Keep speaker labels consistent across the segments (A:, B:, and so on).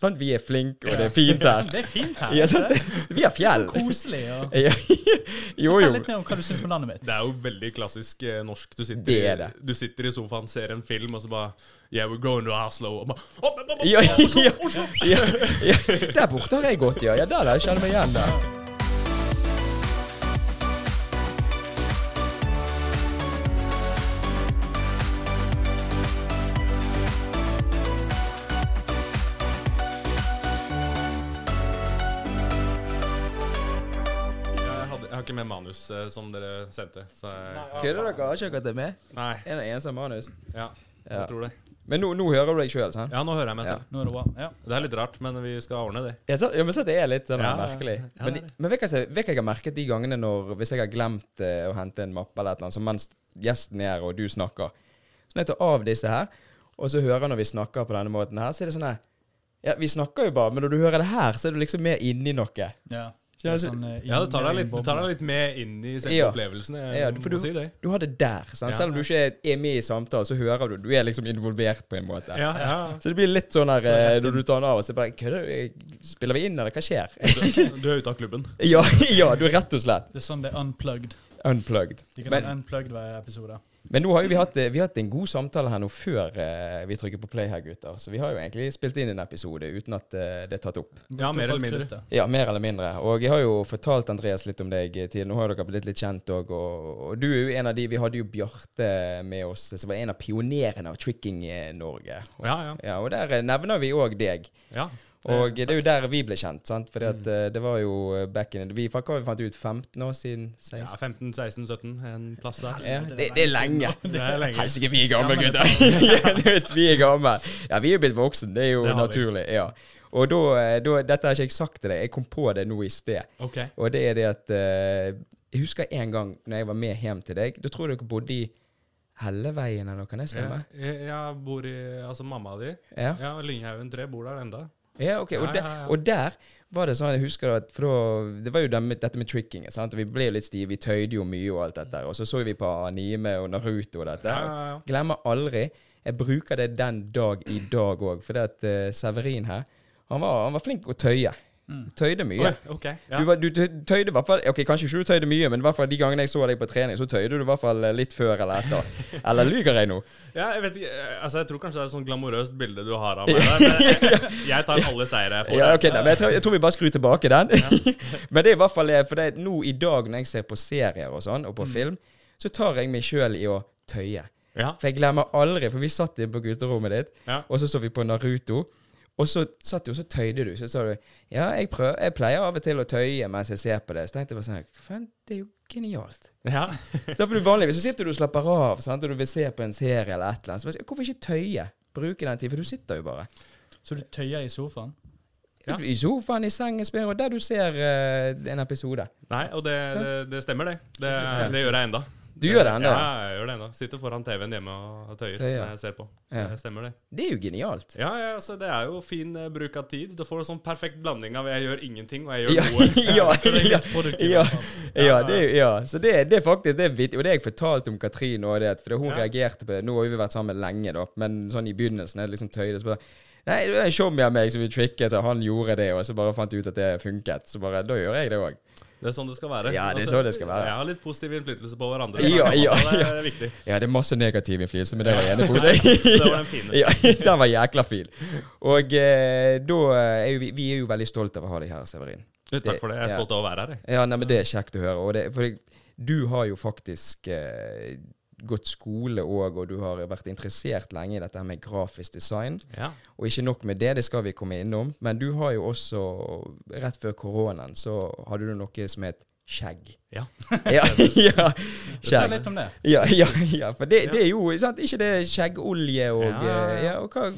A: Sant? Vi er flinke, og det er fint her.
B: Det er fint her.
A: Ja,
B: ikke
A: sant?
B: det?
A: Vi har fjell.
B: Så koselig. Og...
A: Ja, Jo,
B: Fortell
A: jo.
B: litt mer om hva du syns om landet mitt.
C: Det er jo veldig klassisk eh, norsk. Du sitter,
A: Det er det.
C: du sitter i sofaen, ser en film, og så bare Yeah, we're going to Oslo. Og bare, «Å, å, å, å,
A: Ja,
C: Oslo,
A: ja.
C: Oslo!
A: Ja, ja. Der borte har jeg gått, ja. ja der der, jeg kjenner meg igjen der.
C: Jeg, hadde, jeg har ikke med manus eh, som dere sendte. Så jeg,
A: Kødder dere? Har ikke dere med?
C: nei.
A: En av eneste manus.
C: Ja,
A: Ja.
C: jeg tror det.
A: Men nå, nå hører du deg sjøl, sant?
C: Ja, nå hører jeg meg
A: Ja.
C: selv.
B: Nå er det bra. Ja.
C: Det er litt rart, men vi skal ordne det.
A: Ja, så, ja, men så det er litt sånn
C: Ja, ja.
A: merkelig.
C: Ja,
A: Men,
C: det er det.
A: men vet du hva jeg- vet du hva jeg har merket de gangene når Hvis jeg har glemt eh, å hente en mappe eller et eller annet, så mens gjesten er her og du snakker Så når jeg tar av disse her, og så hører når vi snakker på denne måten her, så er det sånn her Ja, vi snakker jo bare, men når du hører det her, så er du liksom mer inni noe.
B: Ja.
A: Ja, altså-
B: sånn, eh,
C: Ja, det tar deg litt, det tar
B: inn-
C: deg litt med inn i selve
A: Ja.
C: opplevelsen. Jeg
A: Ja, for
C: må
A: du-
C: si det.
A: Du har det der. Sant?
C: Ja.
A: Selv om du ikke er- er med i samtalen, så hører du. Du er liksom involvert på en måte.
C: Ja, ja.
A: Så det blir litt sånn her eh, når du tar den av, og så bare Kødder du? Spiller vi inn, eller hva skjer?
C: Du, du er ute av klubben.
A: ja, ja, du er rett og slett
B: Det er sånn det er unplugged.
A: unplugged.
B: De kan ha
A: Men,
B: en unplugged hver episode.
A: men nå har jo vi hatt, eh, vi har hatt en god samtale her nå før eh, vi trykker på play her, gutter. Så vi har jo egentlig spilt inn en episode uten at eh, det er tatt opp.
C: Ja, mer eller mindre.
B: Kruttet.
A: Ja, mer eller mindre. Og jeg har jo fortalt Andreas litt om deg eh, til. Nå har jo dere blitt litt kjent òg, og, og du er jo en av de Vi hadde jo Bjarte med oss, som var en av pionerene av Tricking-Norge.
C: Ja, ja.
A: Ja, og der eh, nevner vi òg deg.
C: ja. Mm.
A: Og det er jo der vi ble kjent, sant. Fordi at eh, det var jo eh, back in Vi hva vi fant ut 15 år siden?
C: ja
A: 16?
C: 15, 16, 17. En plass der.
A: Ja, det, det er lenge.
C: Det er lenge. sånn.
A: Helsike, vi er gamle, gutter. ja, du vet, vi er gamle. Ja, vi er jo blitt voksen, det er jo
C: Det har vi.
A: naturlig. Ja. Og da, eh, da Dette har ikke jeg sagt til deg, jeg kom på det nå i sted.
C: Ok.
A: Og det er det at eh, Jeg husker en gang når jeg var med hjem til deg. Da tror jeg dere bodde i Helleveien eller noe, kan det
C: Ja,
A: stemme?
C: Jeg, jeg bor i Altså, mamma di
A: Ja.
C: Ja, Lynghaugen 3 bor der enda.
A: Ja, ok. Og,
C: Ja,
A: der,
C: ja, ja.
A: og der var det sånn, jeg husker at for da, Det var jo dem- dette med tricking. sant? Og Vi ble jo litt stive, vi tøyde jo mye og alt dette. Og så så vi på anime og Naruto og dette.
C: Ja, ja, ja.
A: Glemmer aldri. Jeg bruker det den dag i dag òg. For det at eh, Severin her, han var, han var flink å tøye. Tøyde mye.
C: Oi, ok. Ja.
A: Du, var, du tø- tøyde i hvert fall Ok, kanskje ikke du tøyde mye, men i hvert fall de gangene jeg så deg på trening, så tøyde du i hvert fall eh, litt før eller etter. Eller lyver jeg nå?
C: Ja, jeg vet ikke, eh, altså jeg tror kanskje det er et sånn glamorøst bilde du har av meg. Der, men jeg, jeg tar alle seire jeg får.
A: Ja, ok, nei, men jeg, tror, jeg tror vi bare skrur tilbake den. men det er i hvert fall eh, For det er nå i dag når jeg ser på serier og sånn, og på film, så tar jeg meg sjøl i å tøye.
C: Ja,
A: For jeg glemmer aldri, for vi satt inne på gutterommet ditt,
C: Ja.
A: og så så vi på Naruto. Og så satt du, og så tøyde du. Så sa du Ja, jeg, prøv, jeg pleier av og til å tøye mens jeg ser på det. Så tenkte jeg bare sånn Hva faen, det er jo genialt.
C: ja.
A: Så for du vanligvis så sitter du og slapper av, sant? og du vil se på en serie eller et eller annet. Så bare, sånn, hvorfor ikke tøye? Bruke den tid, for du sitter jo bare.
B: Så du tøyer i sofaen?
C: Ja.
A: I sofaen, i sengen, spør, og der du ser eh, en episode.
C: Nei, og det, det, det stemmer, det. det. Det gjør jeg enda.
A: Du gjør det enda?
C: Ja, jeg gjør det enda. Sitter foran TV-en hjemme og tøyer
A: Tøyer.
C: når jeg ser på.
A: Ja.
C: Det stemmer, det.
A: Det er jo genialt.
C: Ja, ja, altså det er jo fin eh, bruk av tid. Du får en sånn perfekt blanding av jeg gjør ingenting og jeg gjør
A: Ja,
C: noe.
A: ja,
B: Så det er
A: ja,
B: litt produktivt. i
A: ja,
B: hvert fall.
A: ja, det, er jo- ja. Så det, det er faktisk det er vittig. Og det har jeg fortalt om Katrin òg, for hun
C: Ja.
A: reagerte på det. Nå har vi vært sammen lenge, da, men sånn i begynnelsen er det liksom tøyde. Så bare Nei, det var en tjommi av meg som vil tricke, så han gjorde det, og så bare fant jeg ut at det funket. Så bare Da gjør jeg det òg.
C: Det er sånn det skal være.
A: Ja, det er sånn det skal være.
C: Jeg har litt positiv innflytelse på hverandre.
A: Ja, ja,
C: Det er viktig.
A: Ja, det er masse negativ innflytelse, men det var jeg enig på.
C: Det var den fine.
A: Ja, den var jækla fin. Og eh, da er jo vi, vi er jo veldig stolte av å ha deg her, Severin.
C: Takk for det. Jeg er
A: Ja.
C: stolt av å være her, jeg.
A: Ja, nei, men det er kjekt å høre. Og det, for det, du har jo faktisk eh, gått skole òg, og du har vært interessert lenge i dette her med grafisk design.
C: Ja.
A: Og ikke nok med det, det skal vi komme innom, men du har jo også, rett før koronaen, så hadde du noe som het skjegg.
C: ja.
A: Ja, ja,
B: Fortell
A: skjegg.
B: litt om det.
A: Ja, ja, ja for det, det er jo sant? ikke det skjeggolje og
C: Ja, ja, ja.
A: eh, ja, og hva,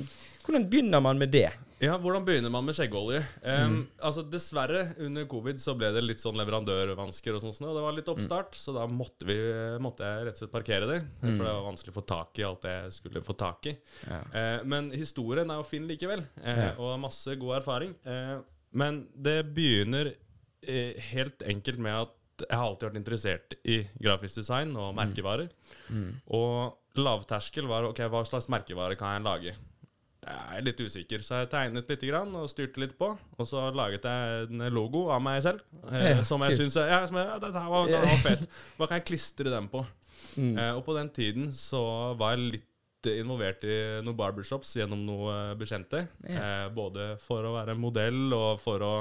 A: Hvordan begynner man med det?
C: Ja, Hvordan begynner man med skjeggolje? Ehm, Altså Dessverre, under covid så ble det litt sånn leverandørvansker, og sånt, og det var litt oppstart, så da måtte, vi, måtte jeg rett og slett parkere det. For det var vanskelig å få tak i alt jeg skulle få tak i. Eh, men historien er jo fin likevel, eh, og har masse god erfaring. Eh, men det begynner eh, helt enkelt med at jeg har alltid vært interessert i grafisk design og merkevarer. Og lavterskel var ok, hva slags merkevare kan jeg lage? Jeg er litt usikker, så jeg tegnet litt grann og styrte litt på. Og så laget jeg en logo av meg selv, eh,
A: Ja,
C: som jeg
A: kult.
C: syns ja, som jeg- ja, det her var, det her var fett. Hva kan jeg klistre den på?
A: Mm.
C: Eh, og på den tiden så var jeg litt involvert i noen barbershops gjennom noen eh, bekjente. Eh, både for å være modell og for å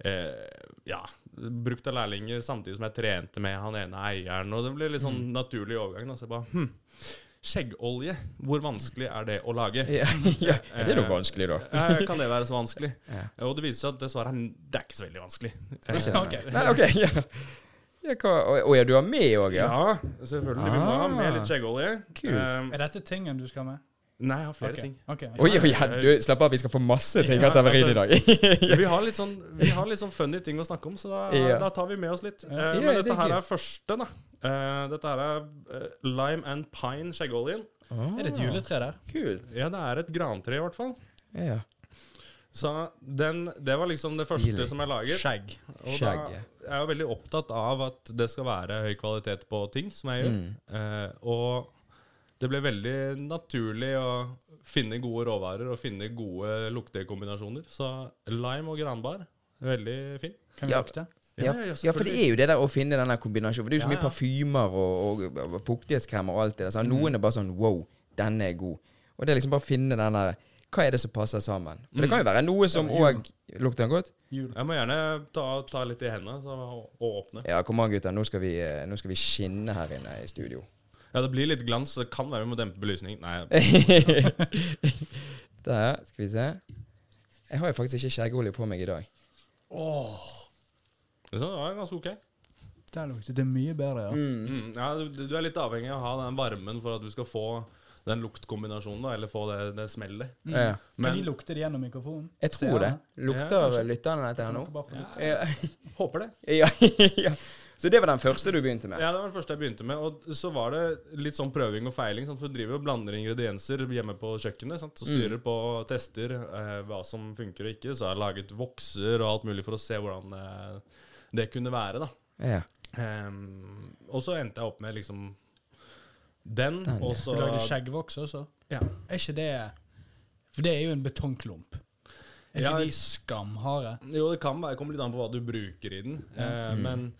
C: eh, ja, brukt av lærlinger samtidig som jeg trente med han ene eieren. Og det ble litt
A: Mm.
C: sånn naturlig overgang. Da, så jeg bare, hm, Skjeggolje, hvor vanskelig er det å lage?
A: Ja, ja. ja, det er nok vanskelig, da.
C: Eh, Ja, kan det være så vanskelig?
B: eh,
A: Ja.
C: Og det viser seg at det svaret er n- det er ikke så veldig vanskelig.
B: Ok.
A: Nei, ok, ja. ja hva, å, å ja, du har med òg, ja?
C: Ja, selvfølgelig. Vi må ha med litt
A: Ah,
C: skjeggolje.
A: kult.
C: Um,
B: Er dette tingen du skal med?
C: nei, jeg har flere
B: Ok,
C: ting.
B: ok.
A: Oi, oi, ja, du, slapp av, vi skal få masse ting
C: Ja,
A: av Severin i
C: altså-
A: dag.
C: Vi har, litt sånn, vi har litt sånn funny ting å snakke om, så da,
A: Ja.
C: da tar vi med oss litt. Eh,
A: Ja, det
C: men
A: er
C: dette her
A: gøy.
C: er første, da. Eh, dette her er eh, lime and pine skjeggoljen.
B: Er det et juletre der?
A: Kult.
C: Ja, det er et grantre, i hvert fall.
A: Ja.
C: Så den, det var liksom det
A: Stilig.
C: første som jeg laget.
B: Skjegg.
C: Og da
A: Skjegg, ja.
C: er jeg jo veldig opptatt av at det skal være høy kvalitet på ting som jeg gjør.
A: Mm.
C: Eh, og det ble veldig naturlig å finne gode råvarer og finne gode luktekombinasjoner. Så lime og granbar, veldig fin.
B: Kan vi
A: Ja.
B: lukte?
A: Ja, ja, for det er jo det der å finne denne kombinasjonen. For det er jo så
C: Ja,
A: mye
C: ja.
A: parfymer og, og, og fuktighetskremer og alt det der. så Noen er bare sånn Wow, denne er god. Og det er liksom bare å finne den der Hva er det som passer sammen? For det kan jo være noe som
B: Ja,
A: òg Lukter den godt?
B: Jul.
C: Jeg må gjerne ta, ta litt i hendene så, og åpne.
A: Ja, kom an, gutter. Nå skal, vi, eh, nå skal vi skinne her inne i studio.
C: Ja, det blir litt glans. så Det kan være vi må dempe belysningen.
A: Eh.
C: Nei,
A: der, skal vi se. Jeg har jo faktisk ikke skjeggolje på meg i dag.
B: Åh,
C: det var ganske ok.
B: der lukter det mye bedre, ja.
C: Mm, ja, du, du er litt avhengig av å ha den varmen for at du skal få den luktkombinasjonen, da, eller få det, det smellet.
A: Ja.
B: Kan
C: Men-
B: de lukte det gjennom mikrofonen?
A: Jeg tror det.
C: Ja,
A: Lukter
C: kanskje.
A: lytterne dette her nå? Ja.
C: Håper det.
A: Ja, ja. Så det var den første du begynte med?
C: Ja, det var den første jeg begynte med. Og så var det litt sånn prøving og feiling. Sant? For du driver og blander ingredienser hjemme på kjøkkenet. Sant? Så
A: Mm.
C: styrer på tester eh, hva som funker og ikke. Så har jeg laget vokser og alt mulig for å se hvordan eh, det kunne være. da.
A: Ja.
C: Ehm, og så endte jeg opp med liksom den,
A: Den, ja.
C: og
B: Du
C: så
B: lagde skjeggvoks også?
C: Ja.
B: Er ikke det For det er jo en betongklump. Er ikke
C: Ja.
B: de skamharde?
C: Jo, det kan være. Det kommer litt an på hva du bruker i den. Eh,
A: Mm.
C: Men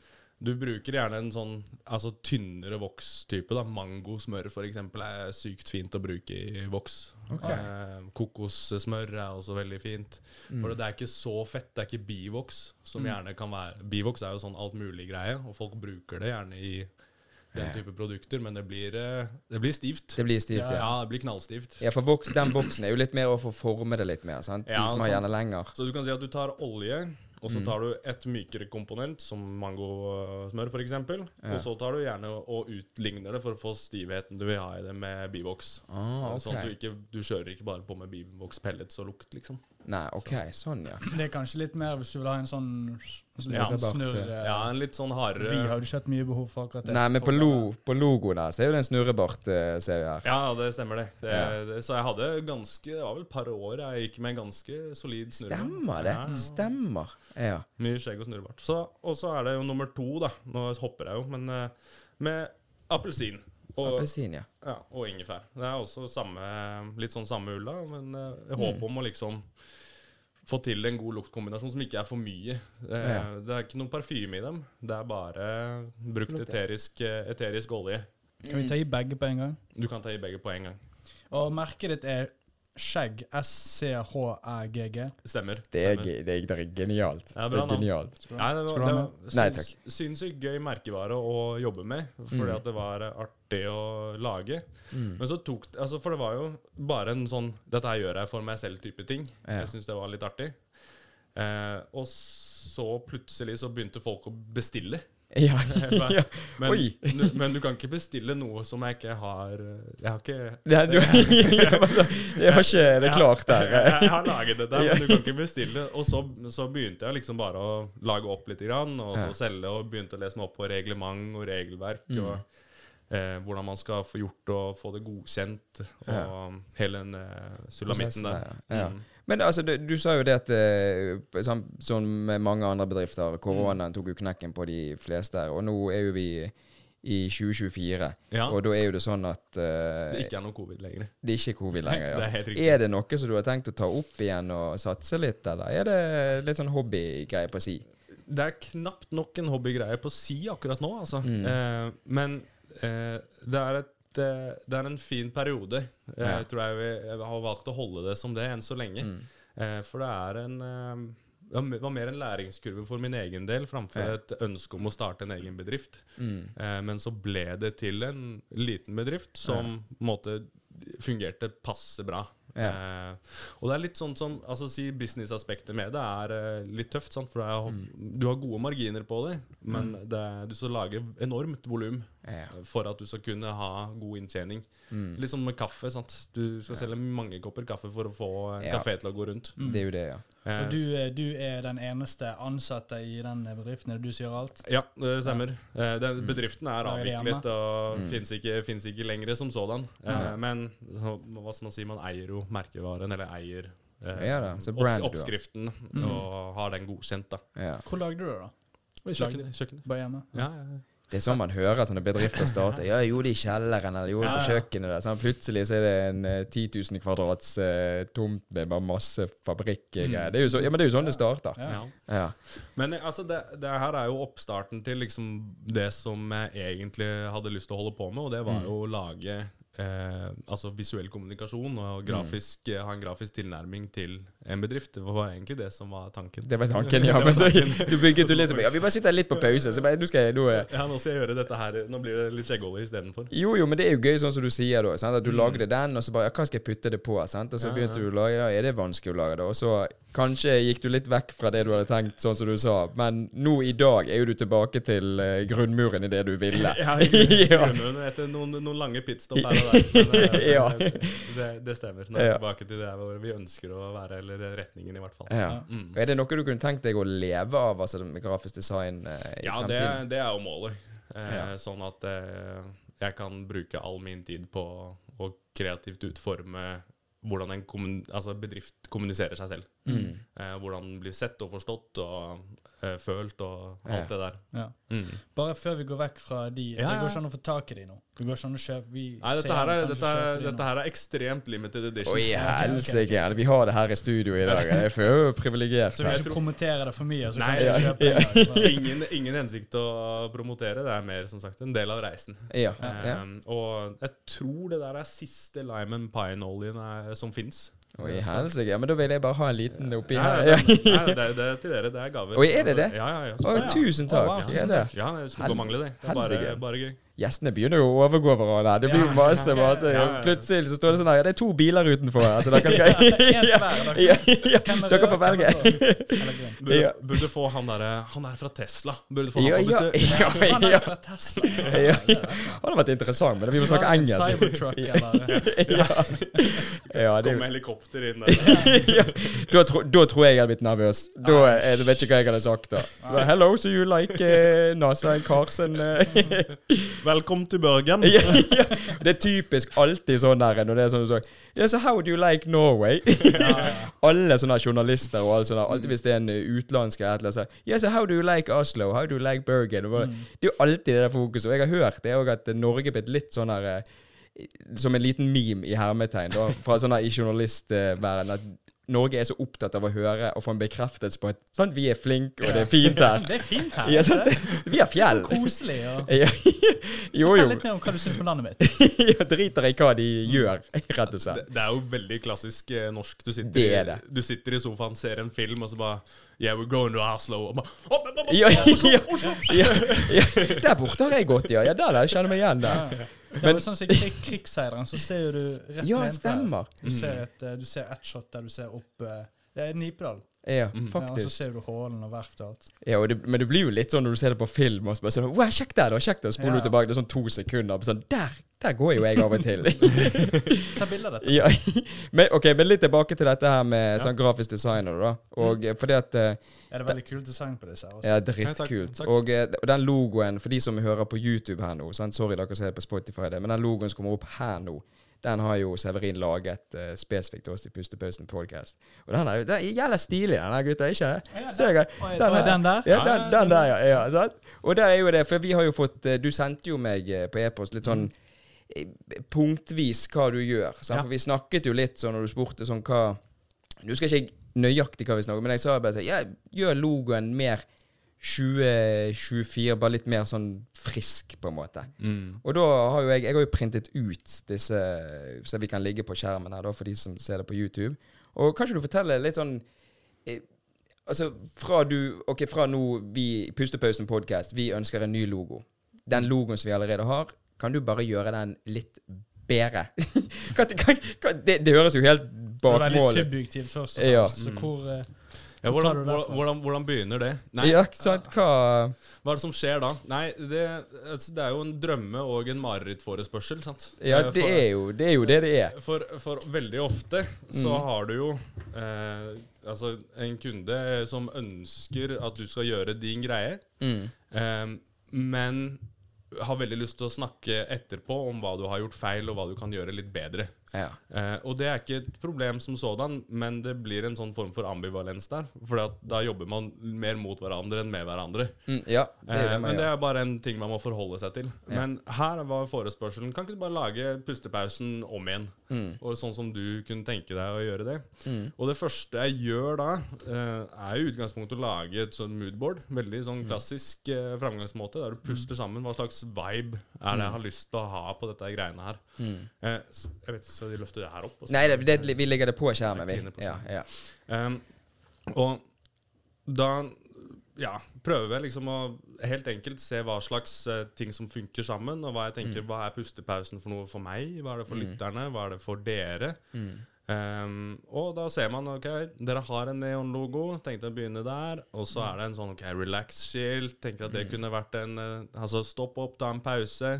C: du bruker gjerne en sånn altså, tynnere vokstype. da. Mangosmør for eksempel er sykt fint å bruke i voks. Eh, kokossmør er også veldig fint.
A: Mm.
C: For det er ikke så fett. Det er ikke bivoks, som gjerne kan være Bivoks er jo sånn altmulig-greie, og folk bruker det gjerne i den type produkter, men det blir, eh, det blir stivt.
A: Det blir stivt, ja.
C: Ja, det blir knallstivt.
A: Ja, for voks, Den voksen er jo litt mer å få forme det litt mer. sant?
C: Ja,
A: De som har
C: sant.
A: gjerne lenger.
C: Så du kan si at du tar olje, og
A: Mm.
C: så tar du et mykere komponent, som mangosmør f.eks., eksempel og så tar du gjerne og utligner det for å få stivheten du vil ha i det med bivoks.
A: Ah, ok.
C: Sånn at du, ikke, du kjører ikke bare på med bivoks pellets og lukt, liksom.
A: Nei, ok, sånn, ja.
B: Men Det er kanskje litt mer hvis du vil ha en sånn litt
C: Ja.
B: sånn snurr. eh,
C: Ja, en litt sånn hardere
B: Vi har jo ikke hatt mye behov for akkurat det.
A: Nei, men på,
B: For-
A: lo, på logoen her så er jo det en snurrebart, eh, ser vi her.
C: Ja, det stemmer, det. det,
A: Ja.
C: det så jeg hadde ganske Det var vel et par år jeg gikk med en ganske solid snurrebart.
A: Stemmer det.
C: Ja,
A: Stemmer. Ja.
C: Mye skjegg og snurrebart. Så, og så er det jo nummer to, da. Nå hopper jeg jo, men eh, med appelsin. Og,
A: Appelsin, ja.
C: Ja, og ingefær. Det er også samme, litt sånn samme ulla, men eh, jeg håper om å liksom få til en god luktkombinasjon som ikke er for mye. Det,
A: Ja.
C: det er ikke noen parfyme i dem. Det er bare brukt eterisk, eh, eterisk olje.
B: Kan vi ta i begge på en gang?
C: Du kan ta i begge på en gang.
B: Og merket ditt er skjegg. S-C-H-E-G-G.
C: Stemmer.
A: Det er,
C: Stemmer.
A: ge- det er, det er genialt.
C: Ja,
A: det
C: bra
A: er
C: navn.
A: genialt.
C: Nei, det
B: Skal du
C: var,
B: ha
C: det
B: med?
C: var
A: Nei,
C: syns,
A: takk.
C: sinnssykt gøy merkevare å jobbe med, fordi at det var eh, artig å lage.
A: Mm.
C: Men så tok det altså For det var jo bare en sånn 'dette her gjør jeg for meg selv'-type ting.
A: Ja.
C: Jeg syns det var litt artig. Eh, og så plutselig så begynte folk å bestille.
A: Ja. ja.
C: Men,
A: Oi!
C: du, men du kan ikke bestille noe som jeg ikke har eh, Jeg har ikke
A: Det, er- du, jeg var så- jeg har ikke det klart der. eh.
C: jeg har laget det der, men du kan ikke bestille. Og så, så begynte jeg liksom bare å lage opp litt, grann, og så selge, og begynte å lese meg opp på reglement og regelverk.
A: Mm.
C: og eh, hvordan man skal få gjort og få det godkjent, og hele den eh, sulamitten der. Mm.
A: Prosessen der, ja. Men altså, du, du sa jo det at eh, sam, som med mange andre bedrifter, koronaen tok jo knekken på de fleste. Og nå er jo vi i 2024.
C: Ja.
A: Og da er jo det sånn at eh,
C: Det ikke er noe covid lenger.
A: det er ikke covid lenger. Ja.
C: Det er helt riktig.
A: er det noe som du har tenkt å ta opp igjen og satse litt, eller er det litt sånn hobbygreie på si?
C: Det er knapt nok en hobbygreie på si akkurat nå, altså.
A: Mm.
C: Eh, men eh, det, er et, eh, det er en fin periode. Eh,
A: Ja. Mm.
C: Jeg tror jeg, vi- jeg har valgt å holde det som det enn så lenge. Eh, for det er en eh, det var- var mer en læringskurve for min egen del framfor
A: Ja.
C: et ønske om å starte en egen bedrift. Eh, men så ble det til en liten bedrift som på en måte fungerte passe bra. Eh, og det er litt sånn som altså, si Businessaspektet med det er eh, litt tøft, sant? for det er,
B: Mm.
C: du har gode marginer på det, men det, du skal lage enormt volum
A: Ja. mm.
C: eh, for at du skal kunne ha god inntjening.
B: Mm.
C: Litt sånn med kaffe. Sant? Du skal selge mange kopper kaffe for å få en
A: Ja.
C: kafé til å gå rundt.
A: Det er jo det, ja.
C: Eh,
B: Og du, eh, du er den eneste ansatte i den bedriften, er det du som gjør alt?
C: Ja, det stemmer. Eh, Den bedriften er
B: Lager det
C: avviklet og
A: Mm.
C: finnes ikke, finnes ikke lenger som sådan. Eh, Men så, hva skal man si, man eier jo merkevaren, eller eier eh,
A: Ja Mm. da, så
C: opps
A: brand du har.
C: oppskriften og har den godkjent. da.
A: ja.
B: Hvor lagde du det, da?
C: Kjøkkenet. kjøkkenet.
B: Bare hjemme?
C: Ja, ja, ja.
A: Det er sånn man hører sånne bedrifter starte. Ja, jeg gjorde det i kjelleren, eller jeg gjorde det på
B: Ja, ja.
A: kjøkkenet der. Sånn, plutselig så er det en eh, 10 000 kvadrats eh, tomt med bare masse fabrikkgreier. Det er jo så, ja, men det er jo sånn det starter.
B: Ja.
C: Ja.
A: Ja.
C: Men eh, altså, det, det her er jo oppstarten til liksom det som jeg egentlig hadde lyst til å holde på med, og det
A: Mm.
C: var jo å lage eh, altså visuell kommunikasjon
A: Mm.
C: og grafisk, eh, ha en grafisk tilnærming til en bedrift. Det var egentlig det som var tanken.
A: Det var tanken, ja. Men så, du bygget jo liksom Ja, vi bare sitter litt på pause, så bare, nå skal jeg nå, eh,
C: Ja, nå skal jeg gjøre dette her. Nå blir det litt skjeggolje istedenfor.
A: Jo, jo, men det er jo gøy, sånn som du sier, da. Sant? At du lagde den, og så bare ja, Hva skal jeg putte det på? Sant? Og så begynte du å lage Ja, er det vanskelig å lage det? Og så kanskje gikk du litt vekk fra det du hadde tenkt, sånn som du sa. Men nå i dag er jo du tilbake til eh, grunnmuren i det du ville.
C: Ja,
A: Ja.
C: grunnmuren etter noen, noen lange pitstop her og der. Men, eh,
A: Ja.
C: det, det stemmer. Nå er
A: Ja. Eh,
C: vi tilbake til der hvor vi ønsker å være, eller retningen, i hvert fall.
A: Ja. Og Er det noe du kunne tenkt deg å leve av, altså med grafisk design eh, i
C: Ja, det,
A: fremtiden?
C: det er jo målet. Eh, Sånn at eh, jeg kan bruke all min tid på å kreativt utforme hvordan en kommun, altså bedrift kommuniserer seg selv.
A: Mm.
C: Eh, hvordan den blir sett og forstått og eh, følt og alt det der.
B: Ja.
C: Mm.
B: Bare før vi går vekk fra de
C: Ja,
B: Det
C: ja.
B: går ikke an å få tak i de nå. Det går ikke an å kjøpe vi
C: Nei,
B: ser
C: dette her, er,
B: kanskje
C: dette,
B: kjøpe
C: er,
B: de nå.
C: dette her er ekstremt limited edition.
A: Oi,
B: ok.
A: helsike. Vi har det her i studio i dag. Jeg føler meg jo privilegert.
B: Så vi
A: her.
B: ikke promoterer det for mye, så
C: Nei,
B: kanskje
C: ja,
B: kjøper de det. Bare-
C: Ingen, ingen hensikt til å promotere. Det er mer som sagt en del av reisen.
A: Ja. ja.
C: Um, og jeg tror det der er siste lime and pine-oljen er- som fins.
A: Oi, helsike. Ja, men da vil jeg bare ha en liten oppi
C: Nei,
A: her.
C: nei,
A: Ja.
C: nei, nei, det, er- det er til dere. Det er gaver.
A: Oi, er det det?
C: Ja, ja, ja.
A: Å,
C: selvfølgelig.
A: tusen
B: Å,
A: takk.
B: wow,
A: Ja,
B: tusen
A: det.
C: ja, det skulle gå og mangle, det. Det er bare,
A: Helsike.
C: bare gøy.
A: Gjestene begynner jo å overgå hverandre. her. Det blir jo masse, masse.
C: ja, ja.
A: Plutselig så står det sånn her Ja, det er to biler utenfor her, så dere skal
B: En til hver, dere.
A: ja, ja.
B: Hvem er
A: Dere
B: rød,
A: får
B: hvem
A: velge.
B: er blå? Eller grønn.
C: Burde,
A: Ja.
C: burde få han derre Han er fra Tesla. Burde få han
A: Ja,
C: på
A: ja,
C: besøk.
A: ja,
B: Han
A: ja.
B: er jo fra Tesla.
A: ja. Hadde vært interessant, men vi må snakke engelsk.
B: Cybertruck, eller
A: Ja, ja det, er
C: Kom med
A: jo-
C: helikopter inn der.
A: da, tro, da tror jeg jeg hadde blitt nervøs. Da jeg vet ikke hva jeg hadde sagt da. Well, Hello, so you like eh, NASA and cars and eh,
C: Velkommen til Børgen.
A: ja, ja. Det er typisk alltid sånn der når det er sånn du sa yeah, so How do you like Norway? alle sånne journalister og alle sånne, alltid hvis det er en eh, utenlandsk eller et eller annet, så yeah, so how do you like Oslo? How do you like Bergen? Og bare, Det er jo alltid det der fokuset. Og jeg har hørt det òg at eh, Norge er blitt litt sånn her eh, Som en liten meme i hermetegn da, fra sånn her i journalistverdenen. at Norge er så opptatt av å høre og få en bekreftelse på at sant, vi er flinke, og det er fint her.
B: Det er fint her.
A: Ja, sant?
B: det
A: Vi har
B: er
A: fjell.
B: så koselig. Og...
A: Ja, jo,
B: Fortell
A: jo.
B: litt mer om hva du syns om landet mitt.
A: Jeg driter i hva de gjør, rett og
C: Det,
A: slett.
C: det er jo veldig klassisk eh, norsk. Du sitter,
A: Det er det.
C: I, du sitter i sofaen, ser en film, og så bare Yeah, we're going to Oslo. Og bare, «Å, men, men, men,
A: Ja,
C: Oslo,
A: ja.
C: Oslo.
A: Ja, ja. Der borte har jeg gått, ja. ja der, der, jeg kjenner meg igjen der.
B: Det er jo sånn som i krig, Krigsseileren, så ser jo du rett
A: Ja,
B: nedenfor.
A: stemmer. Mm.
B: Du ser et, eh, du ser ett shot der du ser opp eh, Det er Nipedal.
A: Ja,
B: Ja, altså, og så
A: faktisk.
B: ser du Hålen og verftet og alt.
A: Ja, og det, men det blir jo litt sånn når du ser det på film, og så bare sånn Wow, sjekk der, da! Sjekk der! Så spoler
B: Ja.
A: du tilbake, det er sånn to sekunder, og sånn Der! Der går jo jeg av og til.
B: Ta bilde av dette.
A: ja. men, ok, men litt tilbake til dette her med sånn grafisk designer, da. Og eh, fordi at eh,
B: Er det veldig kult design på disse her også?
A: Ja,
C: takk,
A: drittkult.
C: takk.
A: Og, eh, og den logoen, for de som hører på YouTube her nå sant? Sorry, dere ser på Spotify det, men den logoen som kommer opp her nå, Den har jo Severin laget eh, spesifikt til oss i Pustepausen podcast. Og den er jo den er jævla stilig, den her gutta, ikke?
B: ja,
A: Ser dere?
B: Oi, da er
A: her.
B: den der?
A: Ja, den, den der, ja. ja sant? Og der er jo det, for vi har jo fått eh, Du sendte jo meg eh, på e-post litt sånn eh, punktvis hva du gjør. Sant?
C: Ja.
A: For vi snakket jo litt sånn når du spurte sånn hva Nå skal ikke jeg nøyaktig hva vi snakker om, men jeg sa bare sånn ja, Gjør logoen mer 2024, bare litt mer sånn frisk, på en måte. Og da har jo jeg Jeg har jo printet ut disse, så vi kan ligge på skjermen her, da, for de som ser det på YouTube. Og kan ikke du fortelle litt sånn eh, Altså, fra du Ok, fra nå vi Pustepausen podcast, vi ønsker en ny logo. Den logoen som vi allerede har, kan du bare gjøre den litt bedre? kan, kan, kan, det, det høres jo helt
B: Det er veldig
A: bakmål ut.
B: subjektivt, først og
A: Ja.
B: fremst.
C: Mm.
B: Så hvor eh,
C: Ja,
B: Hvor tar du
C: hvordan,
B: det fra?
C: hvordan, hvordan, hvordan begynner det? Nei,
A: Ja, ikke sant? Hva
C: Hva er det som skjer da? Nei, det, altså, det er jo en drømme- og en marerittforespørsel, sant?
A: Ja,
C: Eh,
A: det
C: for-
A: er jo det er. Jo det det er.
C: For, for veldig ofte så har du jo eh, altså en kunde eh, som ønsker at du skal gjøre din greie, eh, men har veldig lyst til å snakke etterpå om hva du har gjort feil, og hva du kan gjøre litt bedre.
A: Ja.
C: Eh, og det er ikke et problem som sådan, men det blir en sånn form for ambivalens der. For da jobber man mer mot hverandre enn med hverandre.
A: Mm, ja, det er
C: Eh,
A: det man
C: men det
A: gjør.
C: er bare en ting man må forholde seg til.
A: Ja.
C: Men her var forespørselen Kan ikke du bare lage pustepausen om igjen?
A: Mm.
C: Og Sånn som du kunne tenke deg å gjøre det. Og det første jeg gjør da, eh, er jo i utgangspunktet å lage et sånn moodboard. Veldig sånn
A: Mm.
C: klassisk eh, framgangsmåte, der du puster sammen hva slags vibe er
A: Mm.
C: det jeg har lyst til å ha på dette greiene her. Eh, s- jeg vet ikke, Skal de løfte det her opp? og så-
A: Nei, det, det, vi legger det på skjermen,
C: Jeg er ikke
A: vi.
C: inne
A: Ja, ja.
C: Um, og da ja, prøver jeg liksom å helt enkelt se hva slags eh, ting som funker sammen, og hva jeg tenker, hva er pustepausen for noe for meg, hva er det for lytterne, hva er det for dere? Um, og da ser man, ok, dere har en neonlogo, tenkte jeg å begynne der, og så er det en sånn, ok, relax-skilt, tenker at det kunne vært en, eh, altså stopp opp, ta en pause,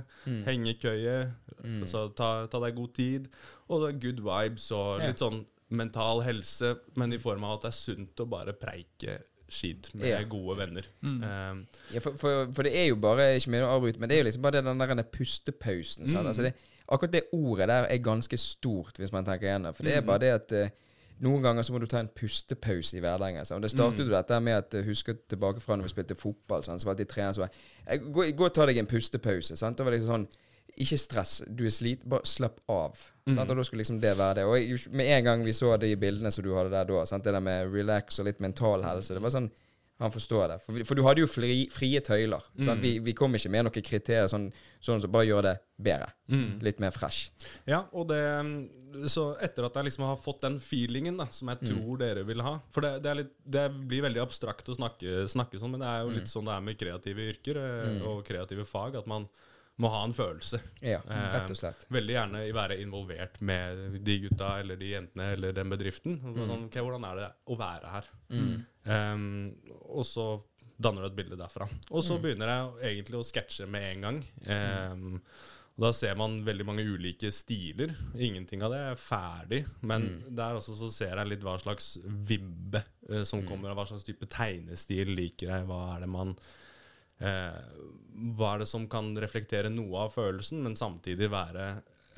C: henge i køye, altså ta, ta deg god tid, og det er good vibes, og litt sånn mental helse, men i form av at det er sunt å bare preike skit med
A: Ja.
C: gode venner. Um,
A: Ja, for, for, for det er jo bare Ikke mye å avbryte, men det er jo liksom bare den der pustepausen. sant? Altså det, akkurat det ordet der er ganske stort, hvis man tenker igjennom. For det er bare det at eh, noen ganger så må du ta en pustepause i hverdagen. sant? Og Det startet jo dette med at eh, husker tilbake fra når vi spilte fotball, sant? så var alltid treneren som var «Eh, gå, 'Gå og ta deg en pustepause.' sant? Det var det liksom sånn ikke stress, du er sliten, bare slapp av. Sant? Og da skulle liksom det være det. Og jeg- med en gang vi så de bildene som du hadde der da, sant? det der med relax og litt mental helse, det var sånn han forstår det. For, vi- for du hadde jo fri, frie tøyler.
C: Mm.
A: Sant? Vi, vi kom ikke med noen kriterier sånn, sånn som bare gjør det bedre.
C: Mm.
A: Litt mer fresh.
C: Ja, og det Så etter at jeg liksom har fått den feelingen da, som jeg tror dere vil ha For det, det, er litt, det blir veldig abstrakt å snakke, snakke sånn, men det er jo litt sånn det er med kreative yrker eh, og kreative fag, at man må ha en følelse.
A: Ja,
C: Eh,
A: rett og slett.
C: Veldig gjerne være involvert med de gutta eller de jentene eller den bedriften. Og Sånn, ok, hvordan er det å være her?
A: Mm.
C: Eh, og så danner du et bilde derfra. Og så begynner jeg egentlig å sketsje med en gang. Eh, og Da ser man veldig mange ulike stiler. Ingenting av det er ferdig, men der også så ser jeg litt hva slags vibbe eh, som kommer av hva slags type tegnestil liker jeg. Hva er det man eh, Hva er det som kan reflektere noe av følelsen, men samtidig være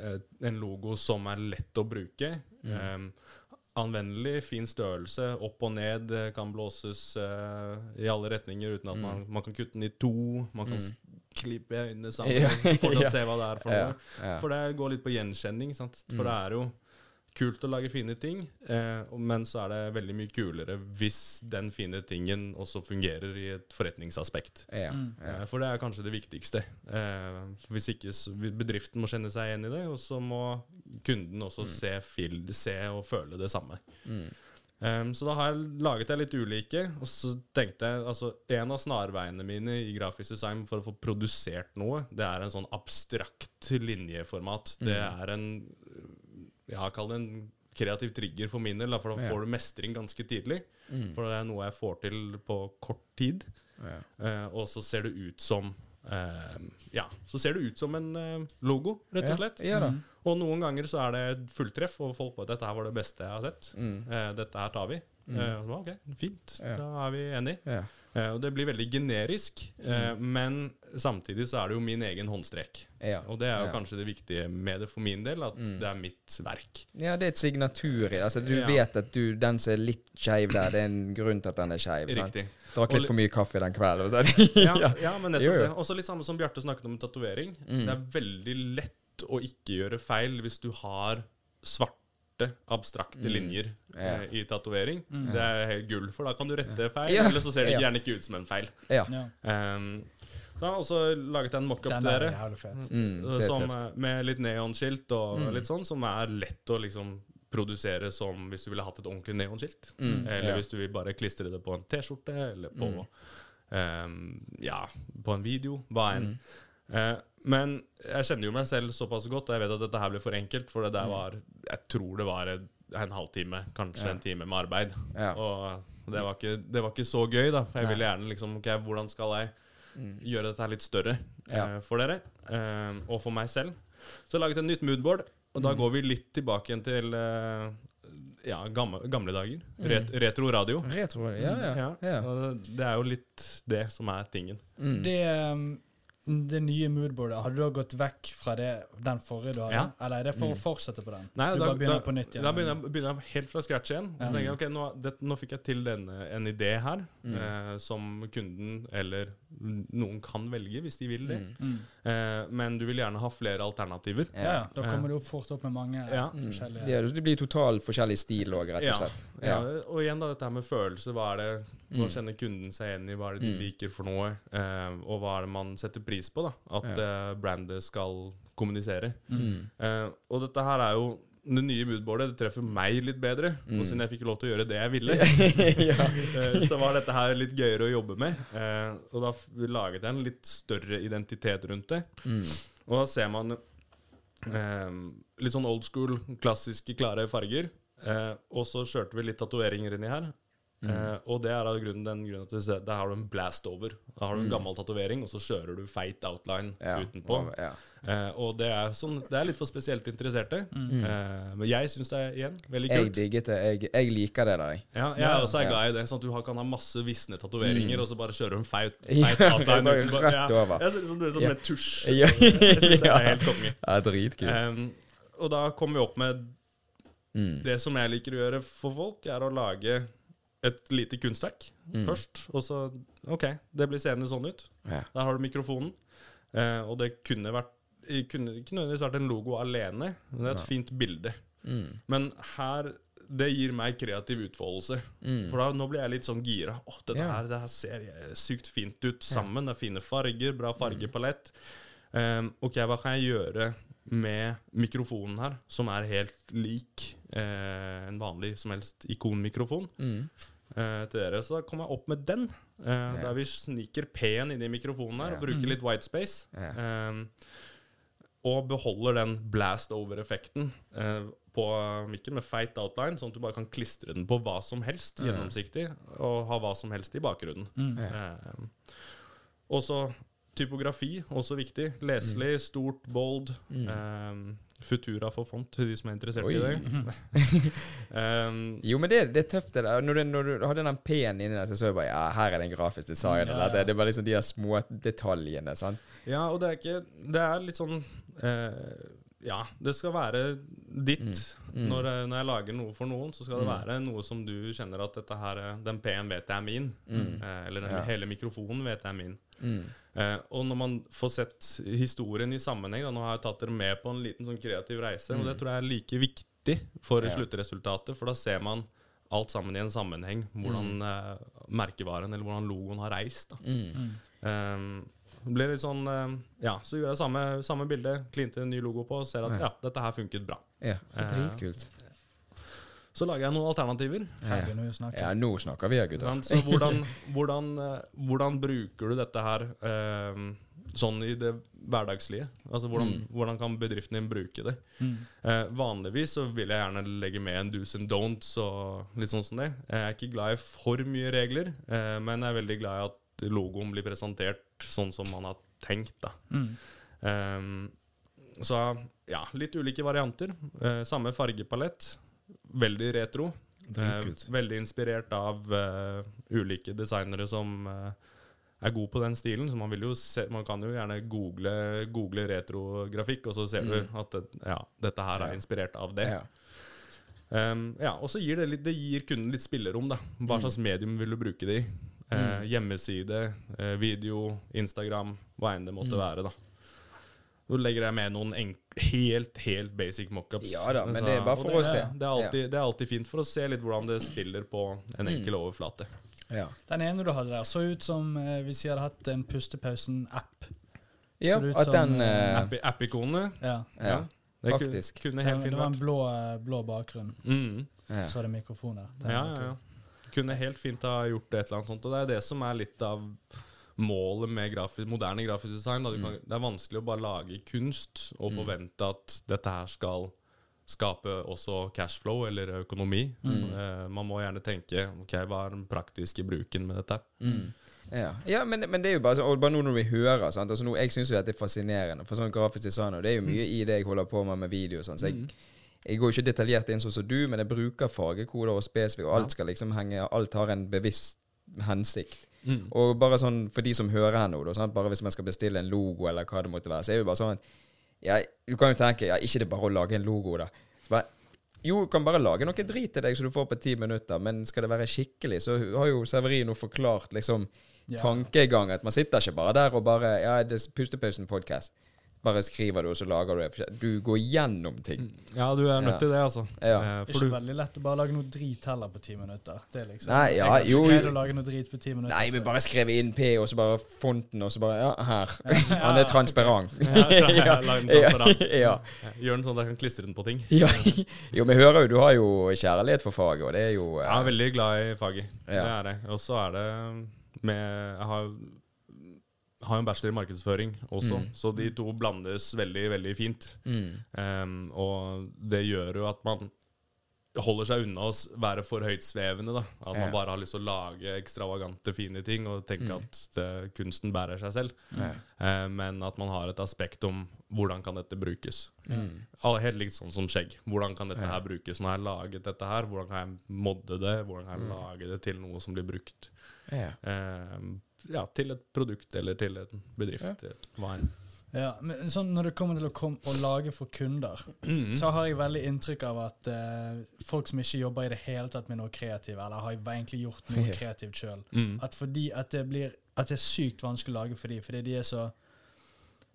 C: eh, en logo som er lett å bruke? Eh, anvendelig, fin størrelse, opp og ned, eh, kan blåses eh, i alle retninger uten at man, man kan kutte den i to. Man kan s- klippe øynene sammen
A: Ja,
C: for
A: ja.
C: å se hva det er for
A: Ja,
C: noe.
A: ja. Mm.
C: For det går litt på gjenkjenning, sant? For det er jo kult å lage fine ting, eh, og- men så er det veldig mye kulere hvis den fine tingen også fungerer i et forretningsaspekt.
A: Ja.
C: Eh, For det er kanskje det viktigste. Eh, for Hvis ikke så vil bedriften må kjenne seg igjen i det, og så må kunden også
A: Mm.
C: se, fil- se og føle det samme. Um, så da har jeg laget jeg litt ulike, og så tenkte jeg altså En av snarveiene mine i grafisk design for å få produsert noe, det er en sånn abstrakt linjeformat. Det
A: Mm.
C: er en Ja, kall det en kreativ trigger for min del, da, for da
A: Ja. Mm.
C: får du mestring ganske tidlig. For det er noe jeg får til på kort tid.
A: Ja.
C: Eh, og så ser det ut som eh, Ja, så ser det ut som en eh, logo, rett
A: Ja,
C: og slett. Mm.
A: ja da. Mm.
C: Og noen ganger så er det fulltreff, og folk bare 'Dette her var det beste jeg har sett'. Eh, dette her tar vi. Eh, og det var, ok, fint,
A: Ja.
C: da er vi enige.
A: Ja. Mm.
C: Eh, og det blir veldig generisk, eh, men samtidig så er det jo min egen håndstrek.
A: Ja.
C: Og det er jo
A: Ja. Mm.
C: kanskje det viktige med det for min del, at det er mitt verk.
A: ja, det er et signatur i det. Altså, du
C: Ja.
A: vet at du, den som er litt skeiv der, det er en grunn til at den er skeiv. sant?
C: Riktig.
A: Drakk
C: Og
A: litt
C: li-
A: for mye kaffe den kvelden. og Så
C: Ja,
A: ja.
C: ja men
A: Jo, Mm. jo.
C: nettopp det. Også litt samme som Bjarte snakket om tatovering. Det er veldig lett å ikke gjøre feil hvis du har svarte, abstrakte
A: Mm.
C: linjer eh, i tatovering. Det er helt gull, for da kan du rette feil,
A: Ja.
C: eller så ser det
A: Ja.
C: gjerne ikke ut som en feil.
A: ja.
B: Ja.
C: Um, så har jeg også laget en mockup til
B: Den er
C: dere.
B: jævlig fet.
A: Mm, det er
C: som,
A: tøft.
C: eh, med litt neonskilt og litt sånn, som er lett å liksom produsere som hvis du ville hatt et ordentlig neonskilt. eller
A: Mm. ja.
C: hvis du vil bare klistre det på en T-skjorte, eller på eh, Ja, på en video. Hva enn. Eh, men jeg kjenner jo meg selv såpass godt, og jeg vet at dette her ble for enkelt, for det der var Jeg tror det var en, en halvtime, kanskje en time med arbeid.
A: Ja.
C: eh, Og det var, ikke, det var ikke så gøy, da. For jeg
A: Nei.
C: ville gjerne liksom Ok, hvordan skal jeg
A: Mm.
C: gjøre dette her litt større
A: Ja.
C: eh, for dere, eh, og for meg selv. Så jeg har laget et nytt moodboard, og
A: Mm.
C: da går vi litt tilbake igjen til eh, ja, gamle, gamle dager. Ret, retro radio.
A: Retro, ja, Mm. ja.
C: Mm. Ja,
A: ja.
C: og Det er jo litt det som er tingen.
A: Mm.
B: Det, um, det nye moodboardet, har du da gått vekk fra det, den forrige du hadde?
C: Ja.
B: Eller er det
A: Mm.
B: for å fortsette på den?
C: Nei,
B: du
C: da,
B: bare begynner
C: da,
B: på nytt igjen?
C: Da begynner jeg, begynner jeg helt fra scratch igjen. Og
B: Ja.
C: Så tenker jeg, ok, Nå, det, nå fikk jeg til denne, en idé her,
A: Mm.
C: eh, som kunden eller noen kan velge hvis de vil det.
B: Mm.
C: Eh, men du vil gjerne ha flere alternativer.
B: Ja, ja. Da kommer du fort opp med mange
C: Ja.
B: forskjellige
A: Mm. Ja, det blir totalt forskjellig stil òg, rett og slett.
C: Mm. Ja. Og igjen da, dette her med følelse. Hva er det Hva kjenner kunden seg igjen i? Hva er det de liker for noe? Eh, og hva er det man setter pris på? da? At eh, brandet skal kommunisere.
A: Mm.
C: Eh, og dette her er jo det nye budbordet det treffer meg litt bedre. Og siden jeg fikk lov til å gjøre det jeg ville, eh, så var dette her litt gøyere å jobbe med. Eh, og da f- laget jeg en litt større identitet rundt det.
A: mm.
C: Og da ser man eh, litt sånn old school, klassiske, klare farger. Eh, og så kjørte vi litt tatoveringer inni her.
A: Mm.
C: Eh, og det er av grunnen, den grunnen at du ser, der har du en blast over. Da har du en gammel tatovering, og så kjører du feit outline
A: Mm. Ja.
C: utenpå.
A: Ja.
C: Eh, og det er, sånn, det er litt for spesielt interesserte. Eh, men jeg syns det er igjen veldig
A: Mm. Jeg
C: kult.
A: digget det. Jeg, jeg liker det der, jeg.
C: Ja, jeg er også er
A: Ja. Mm.
C: glad i det. Sånn at du har- kan ha masse visne tatoveringer, og så bare kjører du en feit,
A: Ja,
C: feit outline
A: bare
C: utenpå.
A: rett
C: Ja.
A: over.
C: Jeg ser ut som du er sånn
A: Ja.
C: med tusj.
A: Ja,
C: Jeg syns det er helt konge.
A: ja dritkult.
C: Ehm, og da kommer vi opp med
A: Mm.
C: det som jeg liker å gjøre for folk, er å lage et lite kunstverk først. Og så OK, det blir seende sånn ut.
A: Ja.
C: Der har du mikrofonen. Eh, og det kunne vært i- kunne ikke nødvendigvis vært en logo alene, men det er et fint bilde.
A: Mm.
C: Men her det gir meg kreativ utfoldelse.
A: Mm.
C: For da, nå blir jeg litt sånn gira. Åh, dette
A: Ja.
C: her, det her ser eh, sykt fint ut sammen. Det er fine farger, bra fargepalett. Um, ok, hva kan jeg gjøre med mikrofonen her, som er helt lik eh, en vanlig som helst ikonmikrofon?
A: Mm.
C: eh, til dere, Så da kom jeg opp med den, eh, der vi sniker P-en inn i mikrofonen her og bruker litt white space. Um, og beholder den blast over-effekten eh, på mikken med feit outline, sånn at du bare kan klistre den på hva som helst, gjennomsiktig, og ha hva som helst i bakgrunnen.
B: Mm.
C: Eh, og så typografi, også viktig. Leselig, stort, bold. Eh, Futura for font, til de som er interessert
A: Oi.
C: i det. Eh,
A: Jo, men det, det er tøft, det der. Når du, når du hadde den P-en inni der, så så jeg bare Ja, her er det en grafisk design. Eller, det, det var liksom de der små detaljene, sant.
C: Ja, og det er ikke Det er litt sånn eh, Ja, det skal være ditt. Når, eh, når jeg lager noe for noen, så skal det være noe som du kjenner at dette her eh, Den P-en vet jeg er min. Eh, eller den, hele mikrofonen vet jeg er min.
A: Mm,
C: Eh, og når man får sett historien i sammenheng da, Nå har jeg tatt dere med på en liten sånn kreativ reise, og det tror jeg er like viktig for sluttresultatet, for da ser man alt sammen i en sammenheng. Hvordan eh, merkevaren eller hvordan logoen har reist. da
A: mm.
B: Mm.
C: Um, det ble litt sånn um, Ja, så gjorde jeg samme, samme bilde, klinte en ny logo på, og ser at ja, dette her funket bra.
A: Ja, det er dritkult.
C: Så lager jeg noen alternativer.
B: Her begynner vi å snakke.
A: Ja, nå snakker vi, ja,
C: ikke
A: gutter.
C: sant? Så hvordan, hvordan, eh, hvordan bruker du dette her um, sånn i det hverdagslige? Altså hvordan, hvordan kan bedriften din bruke det?
B: Mm.
C: Eh, vanligvis så vil jeg gjerne legge med en do's and don'ts og litt sånn som det. Jeg er ikke glad i for mye regler, eh, men jeg er veldig glad i at logoen blir presentert sånn som man har tenkt, da.
B: Mm.
C: Ehm, så ja, litt ulike varianter. Eh, samme fargepalett. Veldig retro. Eh, veldig inspirert av eh, ulike designere som eh, er gode på den stilen. Så man, vil jo se, man kan jo gjerne google, google retrografikk, og så ser du at det, ja, dette her
A: Mm. Ja.
C: er inspirert av det.
A: Ja.
C: Um, ja, og så gir det, litt, det gir kunden litt spillerom. da.
A: Mm.
C: Hva slags medium vil du bruke det i? Eh, hjemmeside, eh, video, Instagram, hva enn det måtte
A: Mm.
C: være. da. Nå legger jeg med noen enk helt helt basic mockups.
A: Ja da, men
C: Så-
A: det er bare for å
C: og
A: se.
C: Det er, alltid, det er alltid fint for å se litt hvordan det spiller på en
A: Mm.
C: enkel overflate.
A: Ja.
B: Den ene du hadde der, så ut som eh, hvis jeg hadde hatt en Pustepausen-app.
A: ja,
B: Ser ut
A: at
B: som,
A: den
B: eh,
A: eh,
C: App- App-ikonene
B: Ja.
A: ja.
C: det ku-
A: Faktisk.
C: kunne
B: Den,
C: helt
B: det
C: fint
B: var en
C: vært
B: blå, eh, blå bakgrunn,
C: mm.
A: ja.
B: så er det mikrofon der. Den
C: Ja,
B: er
C: ja,
B: kul.
C: ja. Kunne helt fint ha gjort et eller annet sånt. Og det er det som er litt av målet med grafi moderne grafisk design. Da. Du kan, Det er vanskelig å bare lage kunst og forvente at dette her skal skape også cashflow eller økonomi. Eh, man må gjerne tenke ok, hva er den praktiske bruken med dette.
A: Ja, ja men, men det er jo bare sånn Og bare nå når vi hører sant? Altså, nå, Jeg syns jo dette er fascinerende. For sånn grafisk design og Det er jo mye i det jeg holder på med med video. og Sånn, så jeg, jeg går jo ikke detaljert inn sånn som du, men jeg bruker fargekoder og spesifikt, og alt skal liksom henge Alt har en bevisst hensikt. Og bare sånn for de som hører her nå, da, sant? bare hvis man skal bestille en logo eller hva det måtte være, så er det jo bare sånn ja, Du kan jo tenke ja, ikke det er bare å lage en logo, da. Så bare, jo, kan bare lage noe drit til deg som du får på ti minutter, men skal det være skikkelig, så har jo Severin nå forklart liksom
B: Ja.
A: tankegang. At man sitter ikke bare der og bare Ja, det er Pustepausen-podkast. Bare skriver du, og så lager du det. Du går gjennom ting.
C: Ja, du er nødt til det, altså.
A: Ja.
C: Eh,
B: Det er
C: for
B: ikke
C: du,
B: veldig lett å bare lage noe drit heller på ti minutter. Det er liksom,
A: Nei, ja,
B: jeg har
A: jo, jo.
B: ikke greid å lage noe drit på ti minutter.
A: Nei, men bare skrive inn P, og så bare fonten, og så bare Ja, her. Han er transparent.
C: ja, la den transparent.
A: ja.
C: Gjør den sånn at jeg kan klistre den på ting.
A: ja. Jo, men hører jo, du har jo kjærlighet for faget, og det er jo
C: Jeg er
A: eh,
C: veldig glad i faget.
A: Ja.
C: Det er det. Og så er det um, med Jeg har har jo en bachelor i markedsføring også,
A: Mm.
C: så de to blandes veldig, veldig fint. Um, og det gjør jo at man holder seg unna å s- være for høytsvevende. da.
A: Ja.
C: At
A: Mm.
C: man bare har lyst til å lage ekstravagante, fine ting og tenke at eh, kunsten bærer seg selv. Eh, men at man har et aspekt om hvordan kan dette brukes.
A: Mm.
C: Al- Helt likt sånn som skjegg. Hvordan kan dette her brukes? Når jeg har laget dette her, hvordan kan jeg modde det? Hvordan kan jeg lage det til noe som blir brukt
A: ja.
C: eh, ja, til et produkt eller til en bedrift? Hva enn.
B: Ja, men sånn Når det kommer til å, kom, å lage for kunder,
A: Mm.
B: så har jeg veldig inntrykk av at eh, folk som ikke jobber i det hele tatt med noe kreativt, eller har egentlig gjort noe kreativt sjøl, Mm. at fordi at det blir at det er sykt vanskelig å lage for dem, fordi de er så